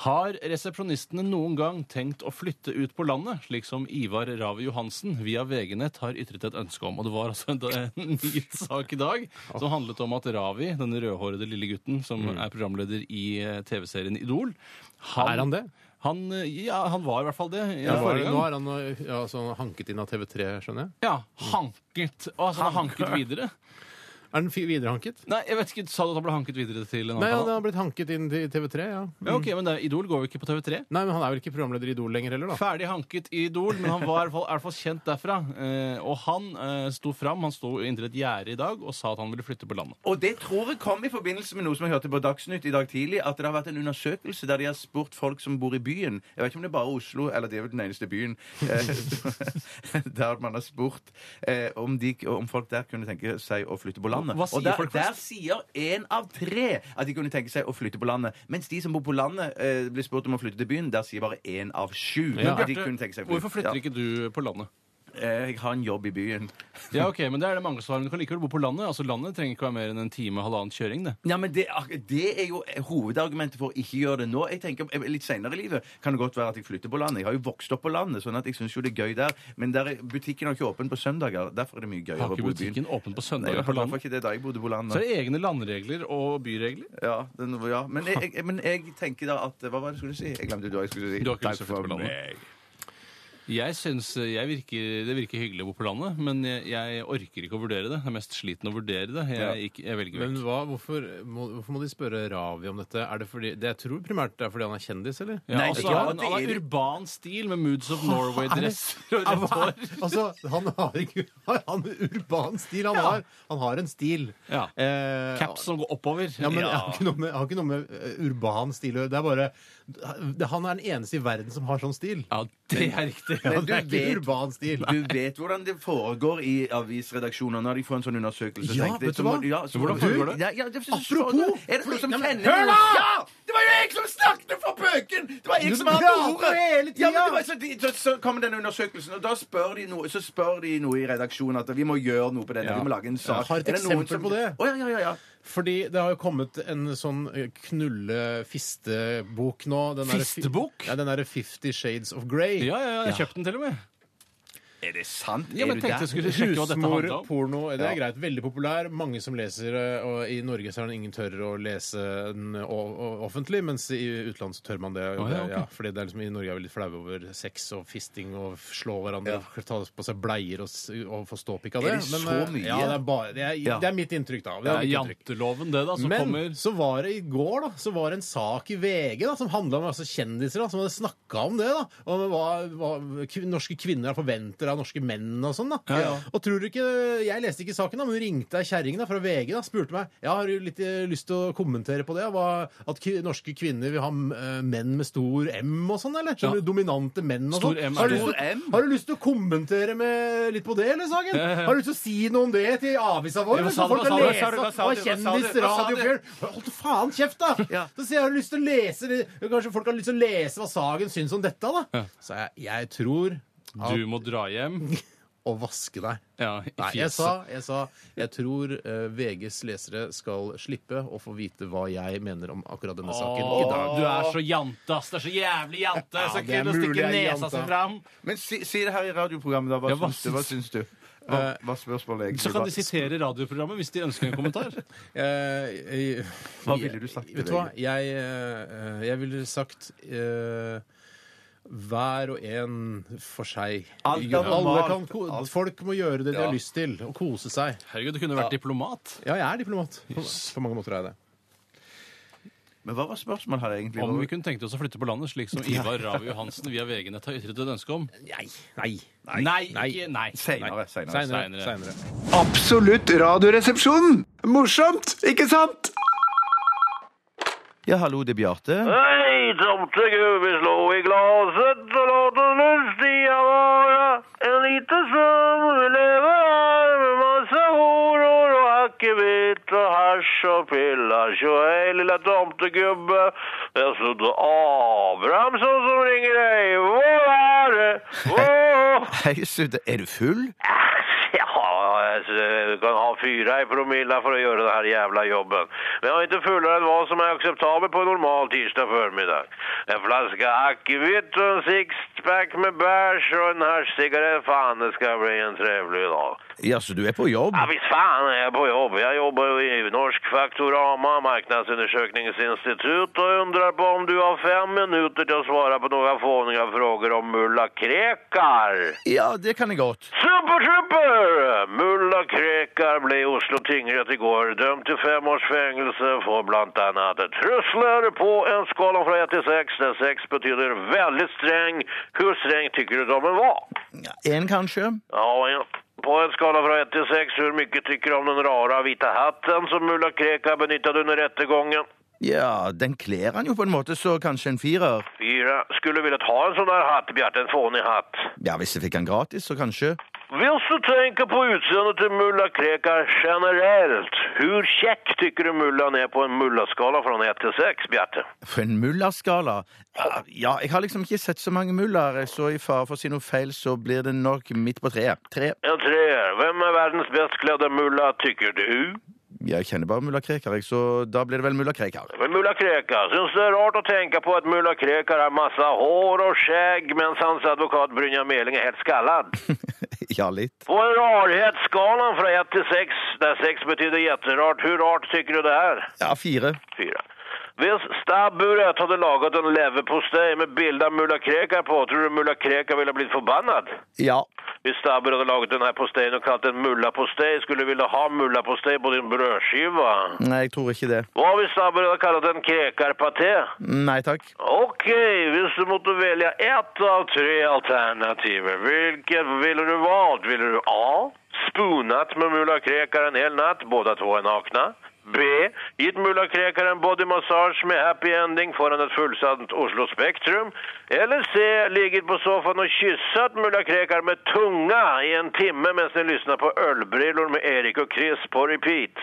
Speaker 3: har resepsjonistene noen gang tenkt å flytte ut på landet, slik som Ivar Ravi Johansen via VG-nett har ytret et ønske om? Og det var altså en, en nyhetssak i dag som handlet om at Ravi, denne rødhårede lille gutten som er programleder i eh, TV-serien Idol
Speaker 1: Mm. Er han det?
Speaker 3: Han, eh, ja, han var i hvert fall det.
Speaker 1: Ja,
Speaker 3: Ja, forrige gang.
Speaker 1: nå er han eh, ja, så han er hanket inn av TV3, skjønner jeg.
Speaker 3: Ja, hanket. Altså, han hanket videre.
Speaker 1: Er den fi- viderehanket?
Speaker 3: Nei, jeg vet ikke, Sa du at han ble hanket videre til en annen
Speaker 1: Nei, han
Speaker 3: kanal?
Speaker 1: har blitt hanket inn til TV3, ja.
Speaker 3: Ja, ok, men det, Idol går jo ikke på TV3.
Speaker 1: Nei, men han er vel ikke programleder i Idol lenger heller, da.
Speaker 3: Ferdig hanket i Idol, men han var i hvert fall, i hvert fall kjent derfra. Eh, og han eh, sto fram, han sto inntil et gjerde i dag og sa at han ville flytte på landet.
Speaker 2: Og det tror jeg kom i forbindelse med noe som jeg hørte på Dagsnytt i dag tidlig, at det har vært en undersøkelse der de har spurt folk som bor i byen Jeg vet ikke om det er bare Oslo, eller det er vel den eneste byen eh, *laughs* Der man har spurt eh, om, de, om folk der kunne tenke seg å flytte på landet.
Speaker 3: Hva sier
Speaker 2: og der,
Speaker 3: folk
Speaker 2: der
Speaker 3: flest?
Speaker 2: sier én av tre at de kunne tenke seg å flytte på landet. Mens de som bor på landet, eh, blir spurt om å flytte til byen. Der sier bare én av sju at de kunne tenke seg å flytte.
Speaker 3: Hvorfor flytter ikke du på landet?
Speaker 2: Ja. Eh, Jeg har en jobb i byen.
Speaker 3: Ja, ok, men det er det mange som har, men du kan likevel bo på landet. Altså, Landet trenger ikke være mer enn en time, halvannen kjøring, det.
Speaker 2: Ja, men det, ak- det er jo eh, hovedargumentet for å ikke gjøre det nå. Jeg tenker, eh, Litt seinere i livet kan det godt være at jeg flytter på landet. Jeg har jo vokst opp på landet, sånn at jeg syns jo det er gøy der. Men der er, butikken har ikke åpen på søndager. Derfor er det mye gøyere
Speaker 3: Har
Speaker 2: å
Speaker 3: ikke
Speaker 2: bo i byen.
Speaker 3: butikken åpen på
Speaker 2: Nei,
Speaker 3: søndager
Speaker 2: jeg
Speaker 3: på
Speaker 2: har
Speaker 3: landet?
Speaker 2: ikke det da jeg bodde på
Speaker 3: Så er
Speaker 2: landet.
Speaker 3: det egne landregler og byregler.
Speaker 2: Ja, den, ja. Men, jeg, jeg, men jeg tenker da at Hva var det jeg skulle si? Jeg glemte hva jeg skulle si.
Speaker 3: Du har ikke
Speaker 2: Takk
Speaker 3: lyst til å
Speaker 2: for
Speaker 3: flytte på landet?
Speaker 2: meg.
Speaker 3: Jeg synes jeg virker, Det virker hyggelig å bo på landet, men jeg, jeg orker ikke å vurdere det. Jeg er mest sliten å vurdere det. Jeg,
Speaker 2: Ja.
Speaker 3: ikke, jeg velger
Speaker 1: Men
Speaker 3: vekk.
Speaker 1: hva, hvorfor, må, hvorfor må de spørre Ravi om dette? Er det fordi, det jeg tror primært det er fordi han er kjendis, eller?
Speaker 3: Ja,
Speaker 2: Nei,
Speaker 3: og så
Speaker 2: ikke
Speaker 3: har
Speaker 2: han,
Speaker 3: han, han har
Speaker 2: det er-
Speaker 3: urban stil med Moods of Norway-dresser og rødt hår.
Speaker 1: altså, han har ikke har han urban stil. Han, har, han har en stil.
Speaker 3: Ja.
Speaker 1: Eh,
Speaker 3: Caps som går oppover.
Speaker 1: Ja, men
Speaker 3: Ja.
Speaker 1: Jeg har ikke noe med, jeg har ikke noe med eh, urban stil å gjøre. Det er bare det, Han er den eneste i verden som har sånn stil.
Speaker 3: Ja, det er riktig.
Speaker 1: Ja, det er
Speaker 2: du
Speaker 1: ikke
Speaker 2: vet-
Speaker 1: urban stil.
Speaker 2: Du vet hvordan det foregår i avisredaksjoner når de får en sånn undersøkelse.
Speaker 1: Ja,
Speaker 2: tenkte jeg.
Speaker 1: vet du
Speaker 2: Så må-
Speaker 1: hva?
Speaker 2: Ja, så
Speaker 1: Hvordan
Speaker 2: må du-
Speaker 1: foregår det?
Speaker 2: Ja, ja, det
Speaker 1: Apropos-
Speaker 2: Er det noen som
Speaker 1: Ja, men-
Speaker 2: kjenner
Speaker 1: Hør da!
Speaker 2: noe? Ja! Det var jo jeg som snakket fra bøken! Det var jeg
Speaker 1: Du
Speaker 2: som hadde
Speaker 1: prater
Speaker 2: ordet!
Speaker 1: hele
Speaker 2: Ja, men
Speaker 1: tida!
Speaker 2: det var, så, de, så, så kommer denne undersøkelsen, og da spør de noe, så spør de noe i redaksjonen at vi må gjøre noe på denne. Vi må lage en sak.
Speaker 1: Jeg har et
Speaker 2: Er det noen
Speaker 1: eksempel på det.
Speaker 2: Å, ja, ja, ja, ja.
Speaker 1: Fordi det har jo kommet en sånn knulle-fistebok nå. Den derre fi-
Speaker 3: Fistebok?
Speaker 1: Ja, den derre Fifty Shades of Grey.
Speaker 3: Ja, ja, ja, jeg kjøpte den til og med.
Speaker 2: Er det sant?
Speaker 3: Ja,
Speaker 2: Er
Speaker 3: men
Speaker 2: du
Speaker 3: tenkte
Speaker 2: der?
Speaker 3: jeg skulle sjekke hva dette
Speaker 1: Husmor,
Speaker 3: handla om.
Speaker 1: porno, det er greit. Veldig populær. Mange som leser, eh, og i Norge så er det ingen tør å lese den o- o- offentlig, mens i utlandet så tør man det. Og
Speaker 3: Å,
Speaker 1: det
Speaker 3: ja, ok.
Speaker 1: ja, fordi det er liksom, I Norge er vi litt flaue over sex og fisting og f- slå hverandre, ta på seg bleier og, s- og få ståpikk
Speaker 2: Er
Speaker 1: av det.
Speaker 2: det
Speaker 1: eh,
Speaker 2: så mye?
Speaker 1: Ja, det er, bare, det er,
Speaker 2: Ja.
Speaker 1: det er mitt inntrykk, da. Det
Speaker 3: Det er
Speaker 1: er mitt inntrykk.
Speaker 3: janteloven, det, da, som
Speaker 1: Men
Speaker 3: kommer.
Speaker 1: så var det i går da, så var det en sak i VG da, som handla om altså, kjendiser da, som hadde snakka om det. da, Om hva, hva kvin- norske kvinner forventer voldtekter av norske menn og sånn. da. Og tror du ikke, Jeg leste ikke saken, da, men hun ringte ei kjerring da, fra VG da, spurte meg jeg har jo litt eh, lyst til å kommentere på det. Hva, at ki norske kvinner vil ha m- eh, menn med stor M og sånn, eller? Skjønner du, Dominante menn og
Speaker 3: Stor
Speaker 1: sånn.
Speaker 3: M,
Speaker 1: Har,
Speaker 3: er
Speaker 1: du
Speaker 3: det-
Speaker 1: lyst til- har du lyst til å kommentere med, litt på det, eller, Sagen? Har du lyst til å si noe om det til avisa vår?
Speaker 3: Ja, hva
Speaker 1: så
Speaker 3: sa du,
Speaker 1: folk
Speaker 3: hva
Speaker 1: kan
Speaker 3: sa du, hva
Speaker 1: lese
Speaker 3: sa du, hva sa
Speaker 1: og
Speaker 3: du, hva sa du,
Speaker 1: kjendis,
Speaker 3: hva sa du?
Speaker 1: radiofjell Hold faen kjeft, da! Så sier jeg har du lyst til å lese det? Kanskje folk har lyst til å lese hva Sagen syns om dette, da? Så jeg, jeg tror
Speaker 3: Du må dra hjem.
Speaker 1: å vaske deg.
Speaker 3: Ja, i
Speaker 1: Nei, jeg
Speaker 3: fjeset.
Speaker 1: sa, jeg sa jeg tror eh, VGs lesere skal slippe å få vite hva jeg mener om akkurat denne saken i dag.
Speaker 3: Du er så jantas. Det er så jævlig jante. så
Speaker 1: det er
Speaker 3: kunne
Speaker 1: mulig
Speaker 3: stikke
Speaker 1: jeg er
Speaker 3: nesa
Speaker 1: janta.
Speaker 3: si fram.
Speaker 2: Men si, si det her i radioprogrammet, da. Hva,
Speaker 3: Ja, hva
Speaker 2: syns, du? hva syns du? Hva, hva spørsmålet egentlig
Speaker 3: Så kan
Speaker 2: var?
Speaker 3: de sitere radioprogrammet hvis de ønsker en kommentar.
Speaker 1: Eh, eh,
Speaker 2: Hva ville du sagt til
Speaker 1: Vet du hva?
Speaker 2: VG?
Speaker 1: Jeg, eh, jeg ville sagt eh, hver og en for seg.
Speaker 2: Alt er
Speaker 1: Alle
Speaker 2: normalt.
Speaker 1: kan, ko- folk må gjøre det de har lyst til, og kose seg.
Speaker 3: *laughs* Herregud, du kunne vært diplomat.
Speaker 1: Ja, jeg er diplomat. På, på mange måter er jeg det.
Speaker 2: Men hva var spørsmålet her egentlig?
Speaker 3: Om vi kunne tenkt oss å flytte på landet, slik
Speaker 1: *laughs*
Speaker 3: som Ivar Ravi Johansen via VG-nett har ytret et ønske om?
Speaker 1: Nei. Nei.
Speaker 3: Nei. Nei. Ikke, nei.
Speaker 2: Seinere. seinere.
Speaker 3: Seinere.
Speaker 1: Seinere. Seinere.
Speaker 4: Absolutt radioresepsjon! Morsomt, ikke sant?
Speaker 2: Ja, hallo, det er Bjarte.
Speaker 10: Hei, tomtegubbe slå i glaset, så låt oss lystige være. En liten søvn vi lever her, med masse horor og hakkebit og hasj og piller. Så hei, lille tomtegubbe, det er Sudde Abrahamsson som ringer deg. Hvor er du? Hvor? *laughs*
Speaker 2: Hei, Sudde. Er du full?
Speaker 10: Ja, altså, du kan ha fyra i promille for å gjøre den här jävla jobben. Men jag är inte fullare än vad som är acceptabelt på en normal tisdag förmiddag. En flaska akvavit och en sixpack med bärs och en haschcigarett. Fan, det ska bli en trevlig dag.
Speaker 2: Ja, så du er på jobb?
Speaker 10: Ja, visst fan är jag på jobb. Jag jobbar ju i Norsk Faktorama, marknadsundersökningsinstitut och undrar på om du har fem minuter till att svara på några fåniga frågor om mulla krekar.
Speaker 2: Ja, det kan jeg godt.
Speaker 10: Super, super! Mulla Krekar ble i Oslo tingrett i går dømt til fem års fengelse for blant annet trusler på en skala fra 1 til 6, der 6 betyr veldig streng. Hvor streng tykker du dommen var?
Speaker 2: Én, kanskje?
Speaker 10: Ja, ja. På en skala fra 1 til 6, hvor mye tykker du om den rara hvite hatten som mulla Krekar benyttet under rettegången?
Speaker 2: Ja, den kler han jo på en måte, så kanskje en firer.
Speaker 10: Fyra. Skulle villet ha en sånn der hatt, Bjarte, en fånig hatt.
Speaker 2: Ja, hvis jeg fikk han gratis, så kanskje.
Speaker 10: Hvis du tenker på utseendet til mulla Krekar generelt, hvor kjekk tykker du mullaen er på en mullaskala fra 1 til 6, Bjarte?
Speaker 2: For en mullerskala. Ja, Ja, jeg har liksom ikke sett så mange muller, så i fare for å si noe feil, så blir det nok midt på treet. Tre.
Speaker 10: En treer. Hvem er verdens best kledde mulla, tykker du?
Speaker 2: Jeg kjenner bare mulla Krekar, jeg, så da blir det vel mulla Krekar. *laughs*
Speaker 10: Men mulla Krekar, syns det er rart å tenke på at mulla Krekar har masse hår og skjegg, mens hans advokat Brynja Meling er helt skallad?
Speaker 2: Ja, litt.
Speaker 10: På rarhetsskalaen fra 1 til 6, der 6 betydde jätterart, hvor rart tykker du det er?
Speaker 2: Ja, fire.
Speaker 10: fyra. Hvis stabburet hadde laget en leverpostej med bilde av mulla Krekar på, tror du mulla Krekar ville blitt forbannet?
Speaker 2: Ja.
Speaker 10: Hvis stabburet hadde laget denne posteien og kalt den mullapostej, skulle du ville ha mullapostej på din brødskiva.
Speaker 2: Nei, jeg tror ikke det.
Speaker 10: Hva hvis stabburet hadde kalt den krekarpaté?
Speaker 2: Nei takk.
Speaker 10: Ok, hvis du måtte velge ett av tre alternativer, hvilket ville du valgt? Ville du A. Spunat med mulla Krekar en hel natt, båda två är nakna. B. Gitt mulla Krekar en bodymassage med happy ending foran et fullsatt Oslo Spektrum. Eller C. Ligget på sofaen og kysset mulla Krekar med tunga i en timme mens ni lyssnar på ølbrillor med Erik og Chris på repeat.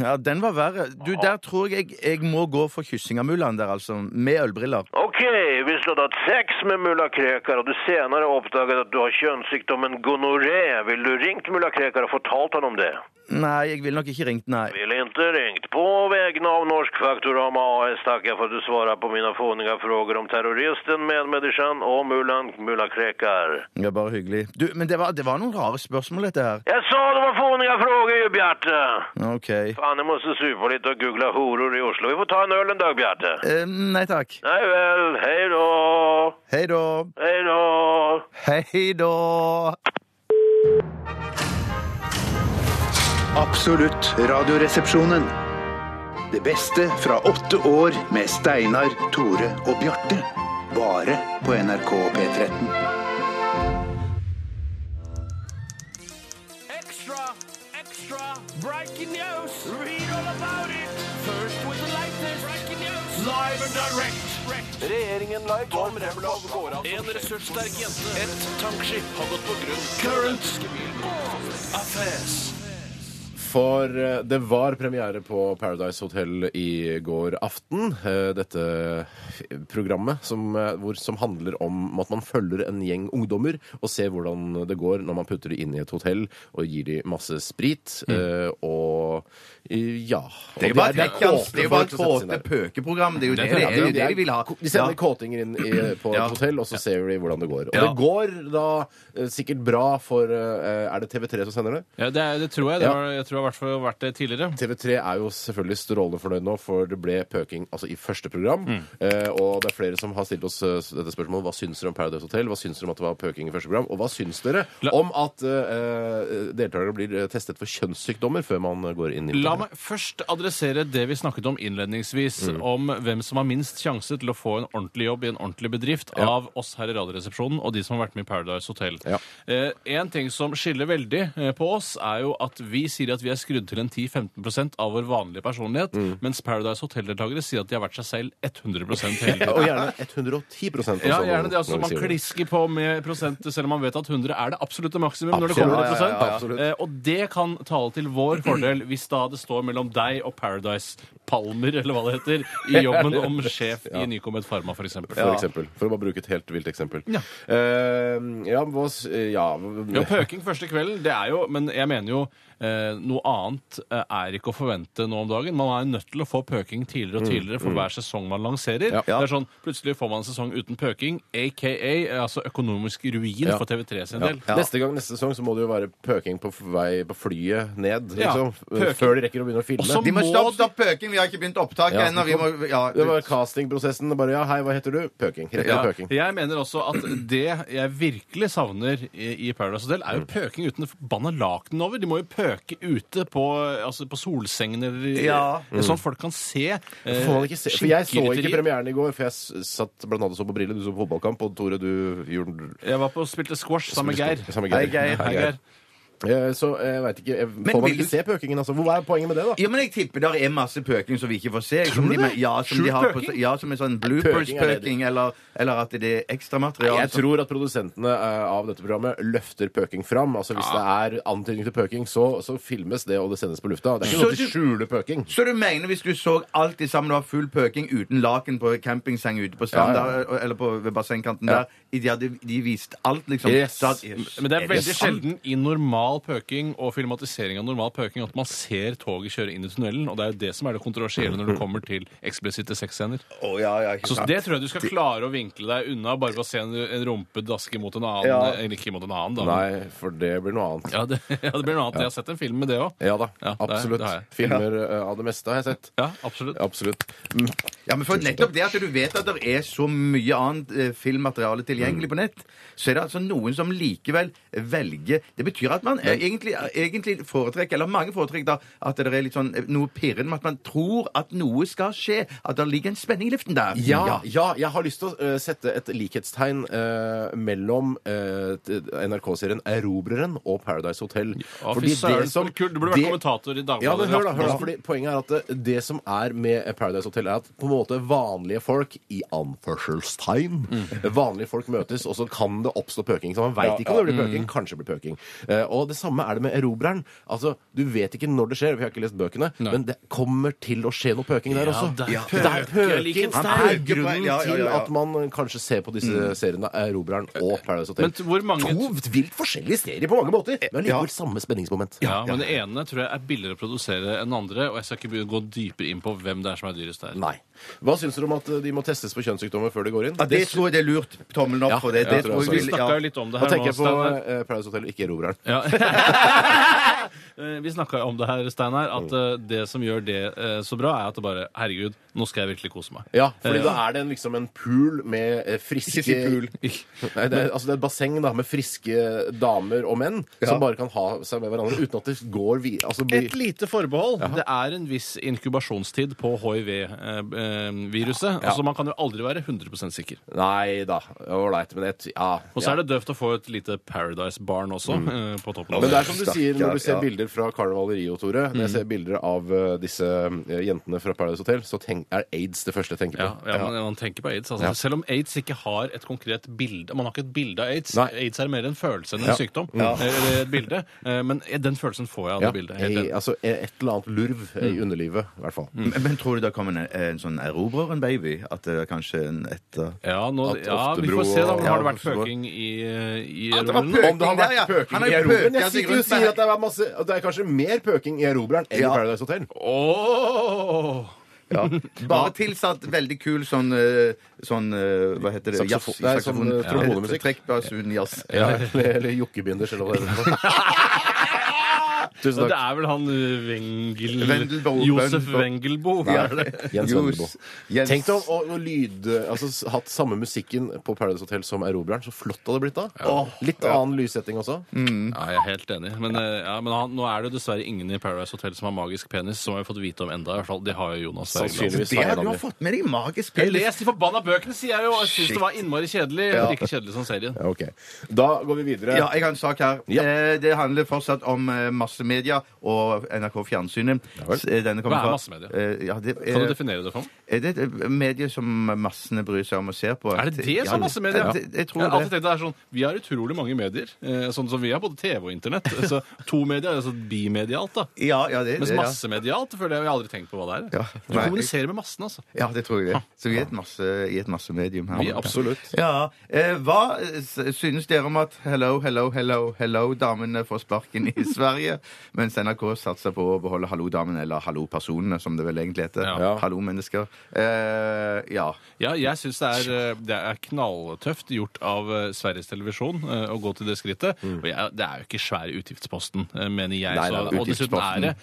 Speaker 2: Ja, Den var verre. Du, Der tror jeg jeg må gå for kyssing av mullaen der, altså. Med ølbriller.
Speaker 10: Ok, hvis du hadde hatt sex med mulla Krekar, og du senere oppdaget at du har kjønnssykdommen gonoré, ville du ringt mulla Krekar og fortalt han om det?
Speaker 2: Nei, jeg ville nok ikke ringt, nei.
Speaker 10: Ville ikke ringt. På vegne av Norsk Faktorama AS takker jeg for at du svarer på mine fåniga spørsmål om terroristen, medmedisjen og mullaen mulla Krekar.
Speaker 2: Ja, Bare hyggelig. Du, Men det var, det var noen rare spørsmål, dette her.
Speaker 10: Jeg sa det var fåniga spørsmål, jo, Bjarte!
Speaker 2: OK.
Speaker 10: Faen, jeg må supe litt og google horor i Oslo. Vi får ta en øl en dag, Bjarte.
Speaker 2: Eh, nei takk.
Speaker 10: Nei vel, hei da.
Speaker 2: Hei da.
Speaker 10: Hei da.
Speaker 2: Hei da.
Speaker 4: Absolutt radioresepsjonen. Det beste fra åtte år med Steinar, Tore og Bjarte. Bare på NRK P13.
Speaker 13: Extra, extra, breaking news. Read all about it. First with the latest. Breaking news. Live and direct. Regjeringen live går med laget går av. En ressurssterk jente. Et tankskip har gått på grunn. Current. Affairs.
Speaker 1: For eh, det var premiere på Paradise Hotel i går aften. eh, Dette programmet som, eh, hvor, som handler om at man følger en gjeng ungdommer og ser hvordan det går når man putter de inn i et hotell og gir de masse sprit. eh, Og eh, ja. Og
Speaker 2: Mm. Det er jo bare, det er
Speaker 1: kåte
Speaker 2: kåte- det er jo bare
Speaker 1: folk som setter
Speaker 2: kåte
Speaker 1: seg ned.
Speaker 2: pøkeprogram. Det er jo det, det, er,
Speaker 1: Ja,
Speaker 2: jo det de vil ha.
Speaker 1: De sender
Speaker 2: Ja.
Speaker 1: kåtinger inn i, eh, på et
Speaker 2: Ja.
Speaker 1: hotell, og så ser vi hvordan det går. Og
Speaker 2: Ja.
Speaker 1: det går da eh, sikkert bra for eh, Er det TV3 som sender det?
Speaker 3: Ja, det, er, det tror jeg. Det
Speaker 1: Ja.
Speaker 3: har, jeg tror det har vært, for- vært det tidligere.
Speaker 1: TV3 er jo selvfølgelig strålende fornøyd nå, for det ble pøking altså, i første program.
Speaker 3: Mm.
Speaker 1: Eh, og det er flere som har stilt oss eh, dette spørsmålet. Hva syns dere om Paradise Hotel? Hva syns dere om at det var pøking i første program? Og hva syns dere
Speaker 3: La-
Speaker 1: om at eh, eh, deltakere blir eh, testet for kjønnssykdommer før man eh, går inn i
Speaker 3: La meg først adressere det vi snakket om innledningsvis,
Speaker 1: Mm.
Speaker 3: om hvem som har minst sjanse til å få en ordentlig jobb i en ordentlig bedrift av oss her i Radioresepsjonen og de som har vært med i Paradise Hotel.
Speaker 1: Ja.
Speaker 3: Eh, en ting som skiller veldig eh, på oss, er jo at vi sier at vi er skrudd til en 10-15 av vår vanlige personlighet,
Speaker 1: Mm.
Speaker 3: mens Paradise Hotel-deltakere sier at de har vært seg
Speaker 1: *laughs*
Speaker 3: selv 100 hele tiden.
Speaker 1: Og gjerne 110 også,
Speaker 3: Ja,
Speaker 1: når-
Speaker 3: gjerne det.
Speaker 1: sånn når
Speaker 3: Altså,
Speaker 1: vi
Speaker 3: man
Speaker 1: sier det.
Speaker 3: klisker på med prosent, selv om man vet at 100 er det absolutte maksimum når det kommer
Speaker 1: Absolutt.
Speaker 3: til prosent.
Speaker 1: Ja, ja, ja, absolutt.
Speaker 3: Eh, og det kan tale til vår fordel hvis da det står mellom deg og Paradise Palmer, eller hva det heter,
Speaker 1: *laughs*
Speaker 3: i jobben om sjef i Nycomed Pharma, for eksempel.
Speaker 1: For eksempel. For å bare bruke et helt vilt eksempel.
Speaker 3: Ja.
Speaker 1: Eh, ja, hva, s- ja.
Speaker 3: Jo, pøking første kvelden, det er jo Men jeg mener jo eh, noe annet eh, er ikke å forvente nå om dagen. Man er nødt til å få pøking tidligere og tidligere for hver sesong man lanserer.
Speaker 1: Mm, Ja.
Speaker 3: Det er sånn, Plutselig får man en sesong uten pøking, aka eh, altså økonomisk ruin
Speaker 1: Ja.
Speaker 3: for TV3 sin
Speaker 1: Ja.
Speaker 3: del.
Speaker 1: Neste gang, neste sesong, så må det jo være pøking på f- vei på flyet ned.
Speaker 3: Ja,
Speaker 1: Liksom,
Speaker 3: pøking.
Speaker 1: før de rekker å begynne å filme.
Speaker 3: Også
Speaker 2: De må
Speaker 3: Må
Speaker 2: stoppe,
Speaker 3: de-
Speaker 2: stopp pøking. Vi har ikke begynt opptaket
Speaker 1: Ja.
Speaker 2: ennå. Vi må ja,
Speaker 1: Det var castingprosessen. det Bare ja, hei, hva heter du? Pøking. Rett
Speaker 3: Ja,
Speaker 1: og pøking.
Speaker 3: Jeg mener også at det jeg virkelig savner i i Paradise Hotel,
Speaker 1: Mm.
Speaker 3: er jo pøking uten det forbanna lakenet over. De må jo pøke ute på, altså på solsengen eller
Speaker 2: Ja.
Speaker 3: Sånn at folk kan se. eh,
Speaker 1: Mm. Får man ikke se? For jeg så ikke
Speaker 3: skinkerytterier.
Speaker 1: premieren i går, for jeg s- satt blant annet og så på Brille. Du så på fotballkamp, og Tore, du gjorde
Speaker 3: Jeg var på og spilte squash sammen med Geir.
Speaker 1: Sammen med Geir.
Speaker 3: Hei, Geir.
Speaker 1: Eh, Så jeg veit ikke jeg, Får man
Speaker 2: vil
Speaker 1: ikke
Speaker 2: du-
Speaker 1: se pøkingen, altså? Hvor er poenget med det, da?
Speaker 2: Ja, men jeg tipper der er masse pøking som vi ikke får se. Som de, ja, som de har på, ja, som en sånn bloopers-pøking, eller, eller at det er ekstramateriale.
Speaker 1: Jeg tror at produsentene eh, av dette programmet løfter pøking fram. Altså Hvis det er antydning til pøking, så, så filmes det, og det sendes på lufta. Det er ikke
Speaker 2: Så
Speaker 1: sånn at de
Speaker 2: du-
Speaker 1: skjuler pøking.
Speaker 2: Så du mener hvis du så alt det sammen, det var full pøking uten laken på campingseng ute på stranda
Speaker 1: Ja, ja,
Speaker 2: eller- eller på, ved bassengkanten
Speaker 1: Ja.
Speaker 2: der, i de hadde de vist alt, liksom
Speaker 1: Yes.
Speaker 2: da-
Speaker 3: Men det er veldig
Speaker 2: sant?
Speaker 3: sjelden i normal pøking og filmatisering av normal pøking at man ser toget kjøre inn i tunnelen, og det er jo det som er det kontroversielle
Speaker 1: Mm.
Speaker 3: når det kommer til eksplisitte sexscener.
Speaker 2: Å, ja, ja, ikke
Speaker 3: Så
Speaker 2: sant.
Speaker 3: det tror jeg du skal klare å vinkle deg unna bare ved å se en, en rumpe daske mot en annen.
Speaker 1: Ja.
Speaker 3: Eller ikke mot en annen, da.
Speaker 1: Nei, for det blir noe annet.
Speaker 3: Ja, det, *laughs* ja, det blir noe annet. Jeg har sett en film med det òg.
Speaker 1: Ja da,
Speaker 3: Ja, det-
Speaker 1: absolutt.
Speaker 3: det har jeg.
Speaker 1: Filmer eh, av det meste har jeg sett.
Speaker 3: Ja, absolutt.
Speaker 1: Absolutt.
Speaker 2: Ja, men for nettopp det at du vet at det er så mye annet eh, filmmateriale
Speaker 1: Mm.
Speaker 2: tilgjengelig på nett, så er det altså noen som likevel velger Det betyr at man eh, egentlig, egentlig foretrekker, eller mange foretrekker da, at det er litt sånn eh, noe pirrende med at man tror at noe skal skje, at det ligger en spenning i luften der.
Speaker 1: Ja, ja, jeg har lyst til å eh, sette et likhetstegn eh, mellom eh, t- NRK-serien Erobreren og Paradise Hotel.
Speaker 3: Ja, fy søren, så kult. Du burde vært kommentator i Dagbladet.
Speaker 1: Ja, men hør da,
Speaker 3: eller
Speaker 1: hør da,
Speaker 3: Aftenposten.
Speaker 1: fordi Poenget er at eh, det, det som er med Paradise Hotel, er at på en måte vanlige folk i anførselstegn
Speaker 3: Mm.
Speaker 1: Vanlige folk møtes, og så kan det oppstå pøking. Så man veit ikke om det blir
Speaker 3: mm.
Speaker 1: pøking. Kanskje det blir pøking. Eh, og det samme er det med Erobreren. Altså, Du vet ikke når det skjer, vi har ikke lest bøkene, men det kommer til å skje noe pøking der også.
Speaker 3: det er
Speaker 1: Det er pøking.
Speaker 3: likhetstegn.
Speaker 1: Det er grunnen
Speaker 2: Ja, ja, ja,
Speaker 1: til
Speaker 2: ja.
Speaker 1: at man eh, kanskje ser på disse seriene, Erobreren og Paradise Hotel.
Speaker 3: Mm. Men hvor mange- Eh,
Speaker 1: To vilt forskjellige serier på mange måter, men allikevel samme spenningsmoment.
Speaker 3: Ja, men det ene tror jeg er billigere å produsere enn det andre, og jeg skal ikke begynne å gå dypere inn på hvem det er som er dyrest der.
Speaker 1: Nei. Hva syns dere om at eh, de må testes på kjønnssykdommer før de går inn?
Speaker 2: Ja, det tror jeg det er lurt. Tommelen opp
Speaker 1: Ja,
Speaker 2: for det. det
Speaker 1: altså, ja, jeg tror
Speaker 2: tror jeg
Speaker 1: også
Speaker 3: Vi
Speaker 2: vil-
Speaker 3: snakka
Speaker 2: ja.
Speaker 3: jo litt om det
Speaker 1: Da
Speaker 3: her
Speaker 1: tenker jeg på
Speaker 3: Steinar.
Speaker 1: eh, Paradise Hotel, ikke Erobreren.
Speaker 3: Ja. *laughs* Eh, Vi snakka jo om det her, Steinar, at
Speaker 1: Mm.
Speaker 3: eh, det som gjør det eh, så bra, er at det bare Herregud, nå skal jeg virkelig kose meg.
Speaker 1: *laughs* Ja, fordi da er det en, liksom en pool med eh, friske Nei, det er, altså det er et basseng da, med friske damer og menn som bare kan ha seg med hverandre uten at det går vi, altså, blir-
Speaker 3: Et lite forbehold. Det er en viss inkubasjonstid på hiv-viruset. eh, Altså Man kan jo aldri være 100 sikker.
Speaker 1: Nei da. Ålreit, men et, ja.
Speaker 3: Og så er det døvt å få et lite Paradise-barn også eh, på toppen.
Speaker 1: ja.
Speaker 3: av
Speaker 1: Men det
Speaker 3: det.
Speaker 1: er som du sier når du ser bilder fra Karneval i Rio, Tore.
Speaker 3: Mm.
Speaker 1: Når jeg ser bilder av eh, disse eh, jentene fra Paradise Hotel, så tenk, er aids det første jeg tenker
Speaker 3: Ja,
Speaker 1: på.
Speaker 3: ja, men man tenker på aids. Altså. Selv om aids ikke har et konkret bilde Man har ikke et bilde av aids.
Speaker 1: Nei. Mm.
Speaker 3: Aids er mer en følelse enn en sykdom. Eller et bilde. Eh, Men den følelsen får jeg av
Speaker 1: Ja,
Speaker 3: det bildet. Helt
Speaker 1: ei-
Speaker 3: enig.
Speaker 1: altså eh, et eller annet lurv eh, i underlivet, i hvert fall. Mm.
Speaker 2: Men, men tror du det kommer en, en sånn erobrer, en baby? At det er kanskje en eh, etter
Speaker 3: Ja, nå,
Speaker 1: At
Speaker 3: ja, vi
Speaker 1: Oftebro
Speaker 3: får se, da.
Speaker 1: og-
Speaker 3: Har det vært
Speaker 1: Ja, Oftebro.
Speaker 3: pøking i, eh, i
Speaker 2: At det var
Speaker 3: rommene?
Speaker 1: Om det har
Speaker 2: Pøking der,
Speaker 1: vært
Speaker 2: ja.
Speaker 1: pøking
Speaker 2: Han har
Speaker 1: i erobreren?
Speaker 2: pøket
Speaker 1: Jeg
Speaker 2: seg
Speaker 1: sitter jo og
Speaker 2: rundt med
Speaker 1: sier at det er, masse, at det er kanskje mer pøking i erobreren enn
Speaker 2: Ja.
Speaker 1: i Paradise Hotel.
Speaker 3: Åh!
Speaker 2: *laughs* Bare tilsatt veldig kul sånn, eh, sånn eh, Hva heter det?
Speaker 1: Saksofon-
Speaker 2: Jazz-
Speaker 1: nei,
Speaker 2: saksofon-
Speaker 1: sånn, eh, trombonemusikk.
Speaker 2: Trekkbasun, jazz.
Speaker 1: Eller, *laughs* eller jokkebinders, eller hva det heter.
Speaker 3: Ja,
Speaker 1: Tusen
Speaker 3: det
Speaker 1: takk.
Speaker 3: er vel han uh, Wengel...
Speaker 2: Wendelbo-
Speaker 3: Josef
Speaker 2: Wendelbo.
Speaker 3: Wengelbo. er det?
Speaker 2: *laughs*
Speaker 1: Jens
Speaker 2: Jo,
Speaker 1: Wendelbo.
Speaker 2: Jens-
Speaker 1: Tenk deg om å, å lyd, altså, s- hatt samme musikken på Paradise Hotel som Erobreren. Så flott det hadde blitt da. Åh, litt annen lyssetting også.
Speaker 2: Mm.
Speaker 3: Ja, jeg er helt enig. Men, eh, ja, men han, nå er det jo dessverre ingen i Paradise Hotel som har magisk penis, som vi har fått vite om enda. i hvert fall. Det har jo Jonas Bergland.
Speaker 1: Sannsynligvis
Speaker 2: Det
Speaker 1: har
Speaker 2: har du
Speaker 1: jeg det.
Speaker 2: har fått med deg i magisk
Speaker 3: Jeg
Speaker 2: penis.
Speaker 3: les de forbanna bøkene, sier jeg jo! Jeg syns det var innmari kjedelig.
Speaker 1: Ja.
Speaker 3: Like kjedelig som serien.
Speaker 1: Ja, ok. Da går vi videre.
Speaker 2: Ja, jeg har en sak her. Eh, Det handler fortsatt om eh, massemedia og NRK Fjernsynet.
Speaker 1: vel.
Speaker 2: S- eh, Denne kommer
Speaker 3: Hva er
Speaker 2: fra-
Speaker 3: massemedia?
Speaker 2: Eh, Ja, det,
Speaker 3: Kan du
Speaker 2: eh,
Speaker 3: definere det for meg?
Speaker 2: er det et eh, medie som massene bryr seg om og ser på?
Speaker 3: Er det det som er massemedia?
Speaker 2: Ja, det- jeg tror
Speaker 3: Jeg har alltid
Speaker 2: det.
Speaker 3: tenkt at det er sånn, Vi har utrolig mange medier. eh, Sånn som vi har både TV og
Speaker 2: *laughs*
Speaker 3: Internett. Så to medier er altså bimedialt. da.
Speaker 2: Ja, ja, det,
Speaker 3: Mens
Speaker 2: det, ja.
Speaker 3: massemedialt føler jeg jeg har aldri tenkt på hva det er.
Speaker 2: Ja.
Speaker 3: Du
Speaker 2: Nei.
Speaker 3: kommuniserer med massen, altså.
Speaker 2: ja, det tror jeg det. Så vi er et, masse, i et massemedium her.
Speaker 3: Vi, absolutt.
Speaker 2: Ja, eh, Hva s- synes dere om at hello, hello, hello, hello damene får sparken i Sverige, mens NRK satser på å beholde hallo damene, eller hallo personene, som det vel egentlig heter.
Speaker 3: Ja.
Speaker 2: Hallo mennesker. Eh, ja.
Speaker 3: Ja, jeg syns det, er, eh, det er knalltøft gjort av eh, Sveriges Televisjon eh, å gå til det skrittet.
Speaker 2: Mm.
Speaker 3: Og jeg, det er jo ikke svær utgiftsposten, eh, mener jeg.
Speaker 1: Nei, nei, nei,
Speaker 3: så, og dessuten er det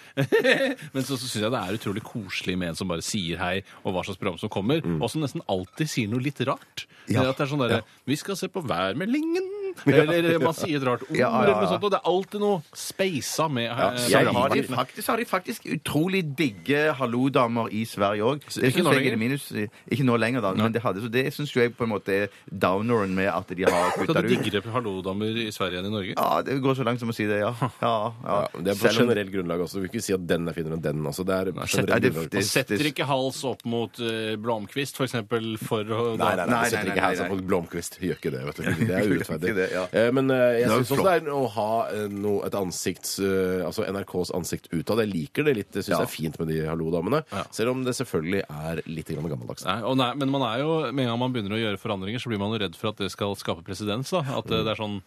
Speaker 3: *laughs* Men så, så syns jeg det er utrolig koselig med en som bare sier hei, og hva slags program som kommer,
Speaker 2: Mm.
Speaker 3: og som nesten alltid sier noe litt rart. Det at det er sånn derre Vi skal se på værmeldingen!
Speaker 2: *laughs*
Speaker 3: Eller man sier et rart ord,
Speaker 2: Ja, ja, ja.
Speaker 3: eller noe sånt. Og det er alltid noe speisa med eh,
Speaker 1: så
Speaker 2: Jeg
Speaker 1: bra.
Speaker 2: har
Speaker 3: programmet.
Speaker 2: de faktisk, har de faktisk utrolig digge hallo-damer i Sverige òg. Det
Speaker 3: ikke
Speaker 2: synes
Speaker 3: nå
Speaker 2: jeg er
Speaker 3: lenger?
Speaker 2: det minus. eh, Ikke nå lenger, da. Men det, hadde, så det syns jeg på en måte er downeren med at de har
Speaker 3: Skal
Speaker 2: kutta
Speaker 3: du
Speaker 2: det ut.
Speaker 3: digge hallodamer i Sverige enn i Norge?
Speaker 2: Ja, det går så langt som å si det, ja. ja, ja.
Speaker 1: Ja, det er på
Speaker 2: Selv om-
Speaker 1: generell grunnlag også. Du vil ikke si at den er finere enn den. Altså. Det er generell
Speaker 2: Nei, det-
Speaker 1: grunnlag.
Speaker 3: Man setter ikke hals opp mot eh, Blomkvist, for eksempel, for å
Speaker 1: Nei, nei, nei,
Speaker 2: Nei,
Speaker 1: nei, setter
Speaker 2: nei,
Speaker 1: ikke
Speaker 2: nei,
Speaker 1: her
Speaker 2: nei.
Speaker 1: som Blomkvist. Gjør ikke det,
Speaker 2: *laughs*
Speaker 1: vet du. Det er
Speaker 2: Gjør
Speaker 1: urettferdig.
Speaker 2: ikke det, ja.
Speaker 1: Eh, Men eh, jeg
Speaker 2: Det er
Speaker 1: syns
Speaker 2: jo
Speaker 1: også det er å ha eh, noe, et ansikt eh, Altså NRKs ansikt utad. Jeg liker det litt. Jeg syns det er fint med de hallo-damene. Selv om det selvfølgelig er litt grann gammeldags.
Speaker 3: Nei, og nei, men man er jo, med en gang man begynner å gjøre forandringer, så blir man jo redd for at det skal skape presedens. da. At eh, det er sånn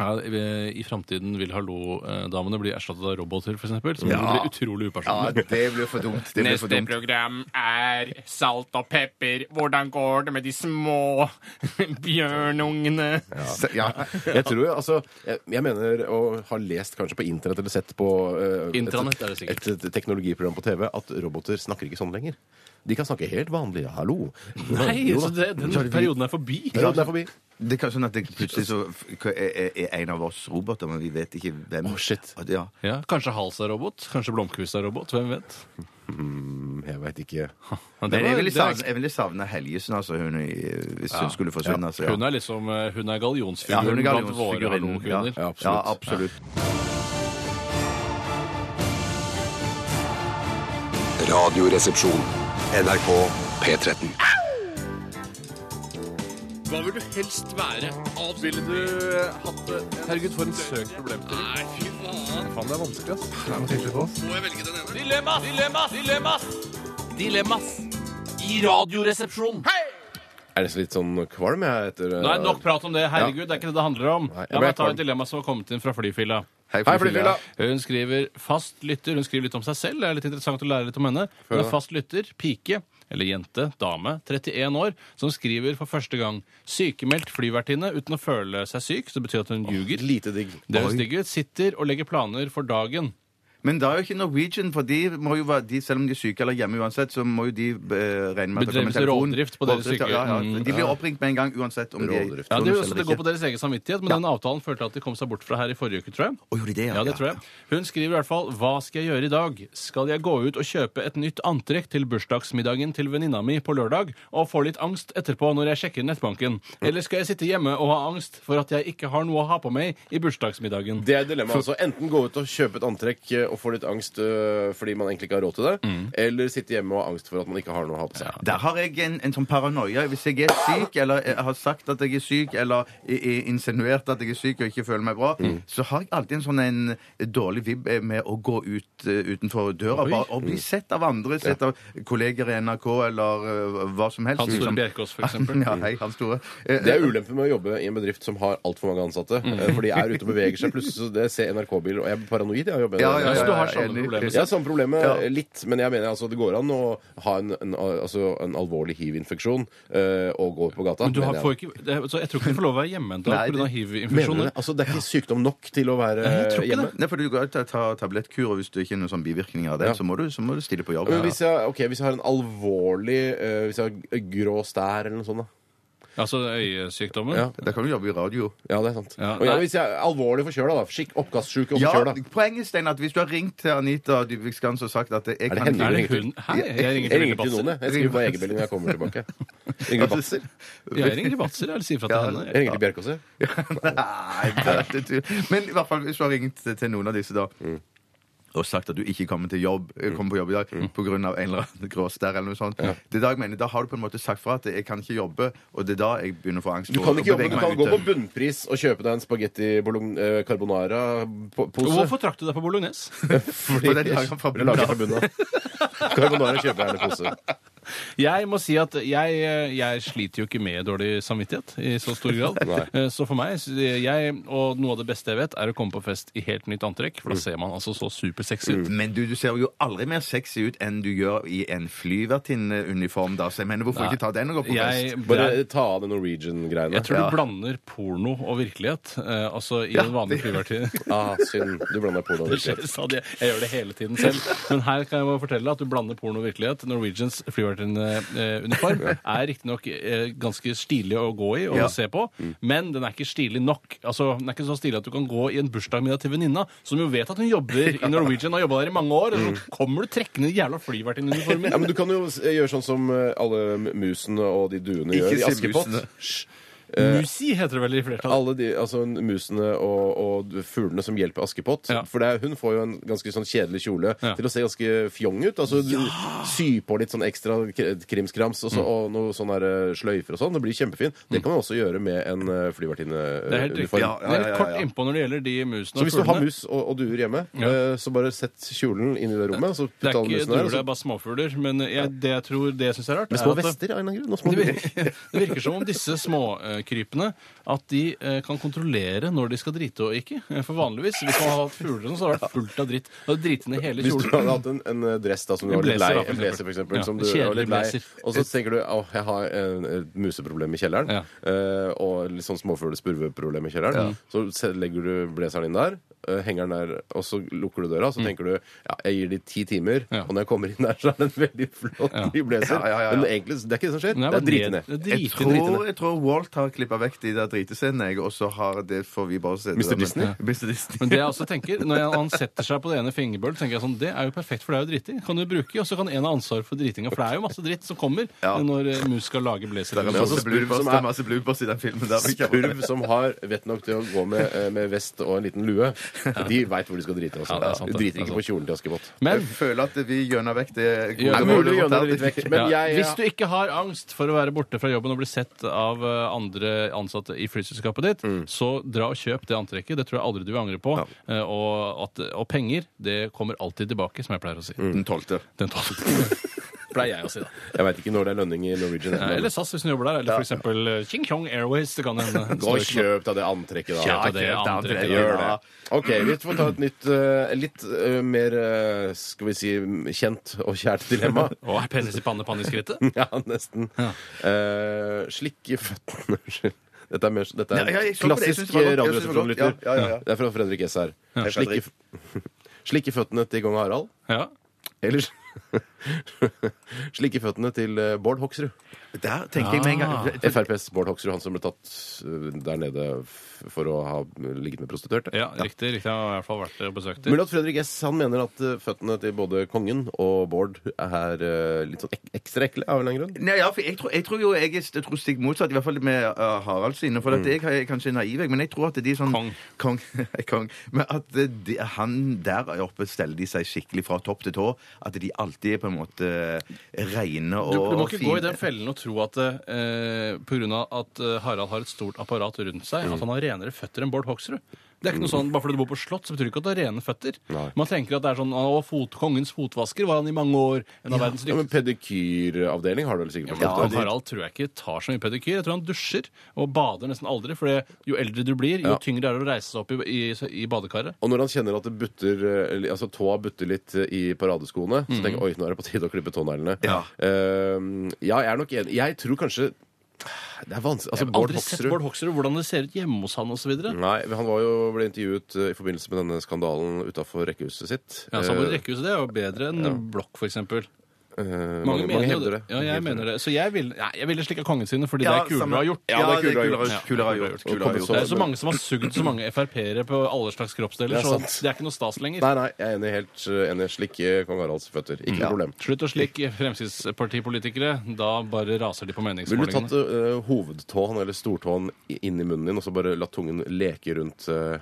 Speaker 3: ja, vi- I framtiden vil hallo-damene bli erstattet av roboter, f.eks. Som ja. blir utrolig
Speaker 2: Ja,
Speaker 3: upersonlig.
Speaker 2: det blir for dumt. Det blir for dumt.
Speaker 3: program er Salt og pepper. Hvordan går det med de små *laughs* bjørnungene?
Speaker 2: Se- Ja.
Speaker 1: *laughs* Jeg tror jo, altså Jeg, jeg mener, og har lest kanskje på internett eller sett på eh,
Speaker 3: Intranett er det
Speaker 1: et,
Speaker 3: sikkert.
Speaker 1: et, teknologiprogram på TV, at roboter snakker ikke sånn lenger. De kan snakke helt vanlig 'hallo'.
Speaker 3: Nei,
Speaker 1: Jo da.
Speaker 3: så det, den perioden er forbi.
Speaker 1: Ja, den er forbi.
Speaker 2: Det kan sånn at det plutselig så f- k- er, er en av oss roboter, men vi vet ikke hvem.
Speaker 1: Å, shit.
Speaker 2: At- Ja.
Speaker 3: Ja, Kanskje Hals er robot? Kanskje Blomkvist er robot? Hvem vet?
Speaker 1: Mm, Jeg veit ikke.
Speaker 3: Men
Speaker 2: Men
Speaker 3: var-
Speaker 2: jeg ville
Speaker 3: det er
Speaker 2: savne, jeg ville savne Helgesen, altså, hun, i- hvis hun skulle forsvinne. Altså, ja.
Speaker 3: Hun er liksom eh, hun er
Speaker 2: Ja,
Speaker 3: gallionsfiguren
Speaker 2: hun er
Speaker 3: blant våre
Speaker 2: gallionsfiguren. Ja,
Speaker 3: hallokvinner.
Speaker 2: ja, absolutt. Ja, absolutt.
Speaker 6: Radioresepsjon. NRK P13.
Speaker 3: Hva vil du helst være? Ville du hatt det? Herregud, for en søk problemstilling. Nei, fy faen. Faen, det er vanskelig, ass. Må jeg velge den ene? Dilemmas! Dilemmas! Dilemmas! Dilemmas! I radioresepsjonen!
Speaker 1: Jeg er nesten litt sånn kvalm jeg etter
Speaker 3: Nå er det nok prat om det. Herregud, det er ikke det det handler om.
Speaker 1: Nei, jeg
Speaker 3: La
Speaker 1: ble
Speaker 3: meg ta
Speaker 1: kvalm.
Speaker 3: et dilemma som har kommet inn fra flyfilla.
Speaker 2: Hei,
Speaker 1: Hei,
Speaker 2: Flyfilla.
Speaker 1: flyfilla!
Speaker 3: Hun skriver fast lytter. Hun skriver litt om seg selv. Det er litt interessant å lære litt om henne. Hun er fast lytter, pike, eller jente, dame, 31 år, som skriver for første gang sykemeldt flyvertinne uten å føle seg syk, så det betyr at hun ljuger.
Speaker 1: Lite digg.
Speaker 3: Det høres digg ut. Sitter og legger planer for dagen.
Speaker 2: Men da er jo ikke Norwegian, for de må jo være, de, selv om de er syke eller hjemme uansett, så må jo de eh, regne med at det kommer en
Speaker 14: Bedrivelse
Speaker 2: telefon.
Speaker 14: rovdrift på deres
Speaker 2: Rovdrift, ja, ja. De blir oppringt med en gang uansett om de er
Speaker 14: Rovdrift.
Speaker 2: sonus
Speaker 3: Ja, det, er jo
Speaker 2: eller
Speaker 3: også, det går
Speaker 2: ikke.
Speaker 3: på deres egen samvittighet, men den avtalen følte jeg at de kom seg bort fra her i forrige uke, tror jeg.
Speaker 2: Å, gjorde de det, ja,
Speaker 3: ja, det
Speaker 2: ja.
Speaker 3: tror jeg. Hun skriver i hvert fall Hva skal jeg gjøre i dag? Skal jeg gå ut og kjøpe et nytt antrekk til bursdagsmiddagen til venninna mi på lørdag og få litt angst etterpå når jeg sjekker nettbanken? Eller skal jeg sitte hjemme og ha angst for at jeg ikke har noe å ha på meg i bursdagsmiddagen?
Speaker 1: Det er dilemmaet. Altså. Enten gå ut og kjøpe et antrekk eh, og få litt angst eh, fordi man egentlig ikke har råd til det,
Speaker 3: Mm.
Speaker 1: eller sitte hjemme og ha angst for at man ikke har noe å ha på seg.
Speaker 2: Der har jeg en, en sånn paranoia. Hvis jeg er syk, eller jeg har sagt at jeg er syk, eller i- i- insinuert at jeg er syk og ikke føler meg bra,
Speaker 1: Mm.
Speaker 2: så har jeg alltid en sånn en dårlig vibb eh, med å gå ut eh, utenfor døra bare, og
Speaker 1: Mm.
Speaker 2: bli sett av andre, sett av kolleger i NRK eller eh, hva som helst.
Speaker 3: Hans Store
Speaker 1: sånn-
Speaker 2: liksom.
Speaker 3: Bjerkås, for
Speaker 1: *laughs*
Speaker 3: eksempel.
Speaker 2: *laughs* ja, hei, Hans Store. Eh,
Speaker 1: Det er ulempen med å jobbe i en bedrift som har altfor mange ansatte.
Speaker 3: Mm.
Speaker 1: eh, For de er ute og beveger seg. Plutselig så det ser NRK-biler, og jeg er paranoid jeg, av å jobbe i
Speaker 2: eh, Ja,
Speaker 1: det.
Speaker 2: ja, ja,
Speaker 3: Så du har
Speaker 2: ja,
Speaker 3: samme
Speaker 2: enig.
Speaker 3: problemer.
Speaker 1: Jeg har samme problemet
Speaker 2: Ja.
Speaker 1: eh, litt, men jeg mener altså, det går an å ha en, en, altså, en alvorlig hiv-infeksjon eh, og gå på gata.
Speaker 3: Men du har,
Speaker 1: mener jeg.
Speaker 3: får ikke, det, så jeg tror ikke du får lov å være hjemme en dag
Speaker 2: Nei,
Speaker 3: pga.
Speaker 1: Mener du
Speaker 3: hiv-infeksjoner.
Speaker 1: det? Altså, det er ikke sykdom nok til å være eh, hjemme?
Speaker 2: Nei, for du går ut og tar tablettkur, og hvis du ikke har noen sånn bivirkninger av det,
Speaker 1: Ja.
Speaker 2: så, må du, så må du stille på jobb.
Speaker 1: Men hvis jeg, ok, hvis jeg har en alvorlig eh, Hvis jeg har grå stær eller noe sånt, da.
Speaker 3: Altså øyesykdommen.
Speaker 1: Ja.
Speaker 2: Da kan du jobbe i radio.
Speaker 1: Ja, det er sant.
Speaker 3: Ja,
Speaker 1: og ja,
Speaker 3: nei.
Speaker 1: hvis jeg er alvorlig forkjøla, da. Skikk oppkastsjuk og
Speaker 2: Ja,
Speaker 1: forkjøla.
Speaker 2: poenget Stein, at hvis du har ringt til Anita Dybvik Skans og sagt at jeg
Speaker 1: Er det
Speaker 2: kan
Speaker 3: Er
Speaker 1: henne du
Speaker 3: det
Speaker 1: ringer til?
Speaker 3: hun? Hei, jeg ringer til
Speaker 1: Jeg ringer
Speaker 3: Birte
Speaker 1: ikke til
Speaker 3: Batzer.
Speaker 1: noen, jeg. Jeg skriver bare egenmelding når jeg
Speaker 3: *laughs*
Speaker 1: kommer tilbake. Ringer til
Speaker 2: Altså,
Speaker 1: Batzer?
Speaker 3: Jeg ringer til Batzer eller sier fra til henne.
Speaker 1: Jeg ringer til Bjerkåse.
Speaker 2: *laughs* Nei, det er tull. Men i hvert fall hvis du har ringt til noen av disse da
Speaker 1: Mm.
Speaker 2: og sagt at du ikke kommer, til jobb, eh, kommer på jobb i dag
Speaker 1: Mm.
Speaker 2: pga. en eller annen gråstær eller noe sånt. Det er da jeg mener, da har du på en måte sagt fra at jeg kan ikke jobbe, og det er da jeg begynner å få angst.
Speaker 1: Du
Speaker 2: for
Speaker 1: kan
Speaker 2: å
Speaker 1: ikke jobbe,
Speaker 2: bevege
Speaker 1: du
Speaker 2: meg
Speaker 1: kan
Speaker 2: ut
Speaker 1: gå på
Speaker 2: til-
Speaker 1: bunnpris og kjøpe deg en spagetti bologn- eh, carbonara-pose.
Speaker 3: Hvorfor trakk du deg på bolognese?
Speaker 2: For det er laget fra
Speaker 1: Det er laget fra bunnen av. Carbonara kjøper jeg gjerne pose.
Speaker 3: Jeg må si at jeg, jeg sliter jo ikke med dårlig samvittighet i så stor grad.
Speaker 1: *laughs* Nei.
Speaker 3: Eh, så for meg, så jeg, og noe av det beste jeg vet, er å komme på fest i helt nytt antrekk.
Speaker 1: Mm.
Speaker 3: For da ser man altså så supersexy ut.
Speaker 2: Men du, du ser jo aldri mer sexy ut enn du gjør i en flyvertinneuniform, da. Så jeg mener, hvorfor
Speaker 3: Nei.
Speaker 2: ikke ta den og gå på fest?
Speaker 3: Jeg,
Speaker 1: Bare
Speaker 3: jeg,
Speaker 1: ta av det Norwegian-greiene.
Speaker 3: jeg tror
Speaker 2: Ja.
Speaker 3: du blander porno og virkelighet. eh, altså i en vanlig
Speaker 1: *laughs*
Speaker 3: flyvertid.
Speaker 1: Ah, synd. Du blander porno og
Speaker 3: Det skjer
Speaker 1: virkelighet.
Speaker 3: stadig. Jeg gjør det hele tiden selv. Men her kan jeg bare fortelle at du blander porno og virkelighet. Norwegians flyvertinneuniform er riktignok eh, ganske stilig å gå i og
Speaker 2: Ja.
Speaker 3: se på,
Speaker 1: Mm.
Speaker 3: men den er ikke stilig nok. Altså, Den er ikke så stilig at du kan gå i en bursdagsmiddag til venninna, som jo vet at hun
Speaker 1: *laughs*
Speaker 3: jobber i Norwegian og har jobba der i mange år, og så kommer du trekkende i jævla flyvertinneuniformen.
Speaker 1: Mm. Ja, men Du kan jo s- gjøre sånn som eh, alle musene og de duene
Speaker 2: Ikke
Speaker 1: gjør i
Speaker 2: si
Speaker 1: Askepott.
Speaker 2: musene.
Speaker 1: Hysj.
Speaker 3: Musi heter det vel i flertall.
Speaker 1: eh, Alle de, altså musene og, og fuglene som hjelper Askepott.
Speaker 3: Ja.
Speaker 1: For det er, hun får jo en ganske sånn kjedelig kjole
Speaker 3: Ja.
Speaker 1: til å se ganske fjong ut. Altså du Sy på litt sånn ekstra k- krimskrams
Speaker 3: Mm.
Speaker 1: og, så, og noe sånn her eh, sløyfer og sånn. Det blir kjempefint. Det kan man også gjøre med en eh,
Speaker 3: Det er helt riktig.
Speaker 1: flyvertinneuniform.
Speaker 2: Ja,
Speaker 3: Det er litt
Speaker 2: ja,
Speaker 3: kort
Speaker 2: ja.
Speaker 3: innpå når det gjelder de musene
Speaker 1: Så
Speaker 3: og
Speaker 1: hvis du har
Speaker 3: fuglene.
Speaker 1: mus og, og duer hjemme,
Speaker 3: Ja.
Speaker 1: eh, så bare sett kjolen inn i det rommet. Så
Speaker 3: Det
Speaker 1: putt
Speaker 3: er
Speaker 1: alle
Speaker 3: ikke
Speaker 1: musene
Speaker 3: duer,
Speaker 1: der. og
Speaker 3: det er
Speaker 1: så-
Speaker 3: bare småfugler. Men jeg, det jeg tror det jeg syns er rart,
Speaker 1: Med
Speaker 3: er
Speaker 1: altså. små
Speaker 3: at
Speaker 1: vester av en eller annen
Speaker 3: *laughs*
Speaker 1: grunn. og små
Speaker 3: Det
Speaker 1: duer.
Speaker 3: virker, det virker som om disse småkrypene at de eh, kan kontrollere når de skal drite og ikke. Eh, For vanligvis, hvis man hadde hatt fugler, og sånn, så hadde det vært fullt av dritt. Da hadde driti ned hele
Speaker 1: Hvis du hadde
Speaker 3: kjolen.
Speaker 1: hatt en, en eh, dress da, som du
Speaker 3: En
Speaker 1: var litt lei,
Speaker 3: blazer, da, for
Speaker 1: en blazer for eksempel,
Speaker 3: Ja,
Speaker 1: som du
Speaker 3: kjedelig
Speaker 1: var litt lei,
Speaker 3: blazer.
Speaker 1: og så tenker du at jeg har en, et museproblem i kjelleren,
Speaker 3: Ja.
Speaker 1: eh, og litt sånn småfuglespurveproblem i kjelleren, så se- legger du blazeren inn der, eh, henger den der, og så lukker du døra, så tenker du, ja, jeg gir de ti timer,
Speaker 3: Mm. Ja.
Speaker 1: og når jeg kommer inn der, så er det en veldig flott
Speaker 3: Ja.
Speaker 1: ny blazer.
Speaker 2: Ja, ja, ja, ja.
Speaker 1: Men egentlig, det er ikke det som skjer,
Speaker 3: Nei,
Speaker 1: det
Speaker 3: bare
Speaker 1: er drite ned.
Speaker 3: Det er
Speaker 2: Jeg
Speaker 3: drite- drite ned.
Speaker 2: tror, jeg tror Walt har klippa vekk de der dritescenene, jeg, og så har det får vi bare se. det
Speaker 1: Mr.
Speaker 2: der, men- *laughs*
Speaker 1: Disney?
Speaker 2: Mr. Disney.
Speaker 3: Men det jeg også tenker, når jeg- han setter seg på det ene fingerbøl, tenker jeg sånn, det er jo perfekt, for det er jo dritt i. Kan du bruke, og så kan en ha ansvar for dritinga, for det er jo masse dritt som kommer
Speaker 2: Ja.
Speaker 3: når eh, mus skal lage blazer.
Speaker 2: Det er
Speaker 1: Men altså,
Speaker 2: masse
Speaker 1: spurv
Speaker 2: bloopers,
Speaker 1: som
Speaker 2: det er
Speaker 1: er-
Speaker 2: masse bloopers i den filmen.
Speaker 1: *laughs*
Speaker 2: Der, vi kan-
Speaker 1: Spurv som har vett nok til å gå med, eh, med vest og en liten lue, de vet hvor de skal drite. Altså.
Speaker 3: Ja, det er sant, det.
Speaker 1: de
Speaker 3: Det
Speaker 1: driter
Speaker 3: er
Speaker 1: ikke på kjolen til Askepott.
Speaker 2: Jeg
Speaker 3: Men
Speaker 2: føler at vi gjønner vekk det gode
Speaker 3: Ja,
Speaker 1: Det er
Speaker 2: målet
Speaker 1: mulig å
Speaker 2: vårt
Speaker 1: gjønne
Speaker 2: her.
Speaker 1: det
Speaker 2: *laughs*
Speaker 1: litt vekk, men
Speaker 3: ja.
Speaker 1: jeg,
Speaker 3: Hvis du ikke har angst for å være borte fra jobben og bli sett av eh, andre ansatte i flyselskapet ditt, så dra og kjøp det antrekket. Det tror jeg aldri du vil angre på. Eh, Og, at, og penger, det kommer alltid tilbake, som jeg pleier å si.
Speaker 2: Den tolvte.
Speaker 3: Den tolv. Mm. *laughs* pleier jeg å si, da.
Speaker 1: Jeg veit ikke når det er lønning i Norwegian.
Speaker 3: Eh,
Speaker 2: sånn-
Speaker 3: Eller SAS, hvis hun jobber der. Eller for eksempel eh, Ching Chong Airways. Det kan hende.
Speaker 1: Gå
Speaker 2: sånn-
Speaker 1: og kjøp deg det antrekket, da.
Speaker 3: Kjøp deg det
Speaker 1: Kjøp deg
Speaker 3: antrekket,
Speaker 1: Gjør
Speaker 2: da.
Speaker 1: det. OK, vi får ta et nytt, eh, litt eh, mer eh, skal vi si kjent og kjært dilemma.
Speaker 2: *laughs*
Speaker 3: Og er penis i panne, panne i *laughs* skrittet?
Speaker 1: Ja, nesten. Eh, slikk i føttene Unnskyld. Dette er, mer, dette
Speaker 2: Ja, ja,
Speaker 1: er
Speaker 2: jeg så på det. Jeg synes
Speaker 1: klassisk
Speaker 2: det var godt. Jeg synes det var godt.
Speaker 1: radioresepsjonlytter.
Speaker 2: Ja, ja, ja, ja.
Speaker 1: Det er fra Fredrik S. her. Slikk i, f- *laughs* Slikke føttene til kong Harald.
Speaker 3: Ja.
Speaker 1: Eller *laughs* slikke føttene til eh, Bård Hoksrud.
Speaker 2: Der tenker jeg med en gang
Speaker 1: FrPs Bård Hoksrud, han som ble tatt eh, der nede f- for å ha ligget med prostituerte.
Speaker 3: ja, riktig. riktig. Jeg har i hvert fall vært og besøkt det.
Speaker 1: Mulig at Fredrik S. han mener at eh, føttene til både kongen og Bård er eh, litt sånn ek ekstra ekle av en eller annen grunn.
Speaker 2: Nei, ja, for jeg, tror, jeg tror jo jeg, er- jeg tror stikk motsatt, i hvert fall med uh, Harald sine. For at jeg er kanskje naiv, jeg, men jeg tror at de sånn
Speaker 3: Mm. Kong.
Speaker 2: Kong, *laughs* kong men at eh, de, han der oppe steller de seg skikkelig fra topp til tå. At de alltid er på en måte eh, reine og
Speaker 3: Du, du må ikke gå i den
Speaker 2: fine.
Speaker 3: fellen og tro at eh, pga. at eh, Harald har et stort apparat rundt seg,
Speaker 1: Mm.
Speaker 3: at han har renere føtter enn Bård Hoksrud. Det er ikke noe sånn, Bare fordi du bor på slott, så betyr det ikke at du har rene føtter.
Speaker 1: Nei.
Speaker 3: Man tenker at det er sånn å, fot, Kongens fotvasker var han i mange år. En av verdens
Speaker 1: Ja, men
Speaker 3: dyktigste.
Speaker 1: Pedikyravdeling har du vel sikkert på
Speaker 3: Ja,
Speaker 1: slottet?
Speaker 3: og Harald tror jeg ikke tar så mye pedikyr. Jeg tror han dusjer og bader nesten aldri. For jo eldre du blir, jo
Speaker 1: Ja.
Speaker 3: tyngre er det å reise seg opp i, i, i badekaret.
Speaker 1: Og når han kjenner at det butter, eh, li- altså tåa butter litt eh, i paradeskoene,
Speaker 3: Mm.
Speaker 1: så tenker jeg oi, nå er det på tide å klippe tåneglene.
Speaker 2: Ja.
Speaker 1: Eh, ja, jeg er nok enig. Jeg tror kanskje Det er vanskelig. Altså,
Speaker 3: Jeg har
Speaker 1: Bård
Speaker 3: aldri sett
Speaker 1: Hoksrud Mm.
Speaker 3: Bård Hoksrud, hvordan det ser ut hjemme hos han osv.
Speaker 1: Nei, Han var jo, ble intervjuet eh, i forbindelse med denne skandalen utafor rekkehuset sitt.
Speaker 3: Ja, sammen med
Speaker 1: Eh,
Speaker 3: rekkehuset, det er jo bedre enn blokk, for eksempel.
Speaker 1: eh, mange,
Speaker 3: Mange,
Speaker 1: mange
Speaker 3: mener jo
Speaker 1: hevder det.
Speaker 3: Ja, jeg mener det. Så jeg, vil, nei, jeg ville slikka kongen sine, fordi det
Speaker 2: Ja,
Speaker 3: er kulere
Speaker 2: samme-
Speaker 3: å ha gjort.
Speaker 1: Ja, det er kulere å ha gjort.
Speaker 2: kulere, kulere å ha gjort.
Speaker 1: Og
Speaker 2: Kulere å ha
Speaker 1: kommet
Speaker 2: gjort.
Speaker 3: Det er jo så mange som har sugd så mange Frp-ere på alle slags kroppsdeler,
Speaker 1: Det er
Speaker 3: så
Speaker 1: sant.
Speaker 3: det er ikke noe stas lenger.
Speaker 1: Nei, nei, jeg er enig helt eh, enig. Slikke kong Haralds føtter. Ikke noe problem.
Speaker 3: Slutt å slikke Fremskrittspartipolitikere. Da bare raser de på
Speaker 1: Ville du tatt
Speaker 3: meningsmålingene.
Speaker 1: eh, hovedtåen eller stortåen i- inn i munnen din og så bare latt tungen leke rundt eh,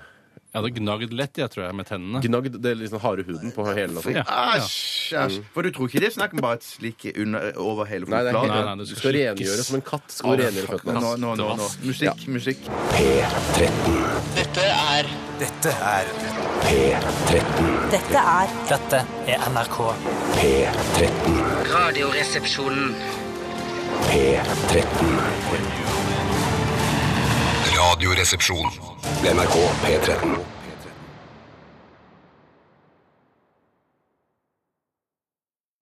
Speaker 3: Jeg hadde gnagd lett, jeg tror jeg, med tennene.
Speaker 1: Gnagd den liksom harde huden på hele natten?
Speaker 3: Ja.
Speaker 2: Æsj! æsj. For du tror ikke det er snakk om bare et slikk under, over hele
Speaker 1: Nei, det er
Speaker 2: fotbladet?
Speaker 1: ikke
Speaker 3: Nei,
Speaker 1: det.
Speaker 3: nei, det
Speaker 1: Du
Speaker 3: skal
Speaker 1: skal
Speaker 3: slikkes.
Speaker 1: rengjøre som en katt. Skal du rengjøre føttene
Speaker 2: Nå,
Speaker 1: hans.
Speaker 2: nå, nå, nå.
Speaker 3: Kastevask.
Speaker 2: Musikk, musikk.
Speaker 6: P13.
Speaker 8: Dette er
Speaker 6: P13.
Speaker 5: Dette er
Speaker 8: Dette er NRK.
Speaker 6: P13.
Speaker 5: Radioresepsjonen.
Speaker 6: P13. Radioresepsjon. NRK P13.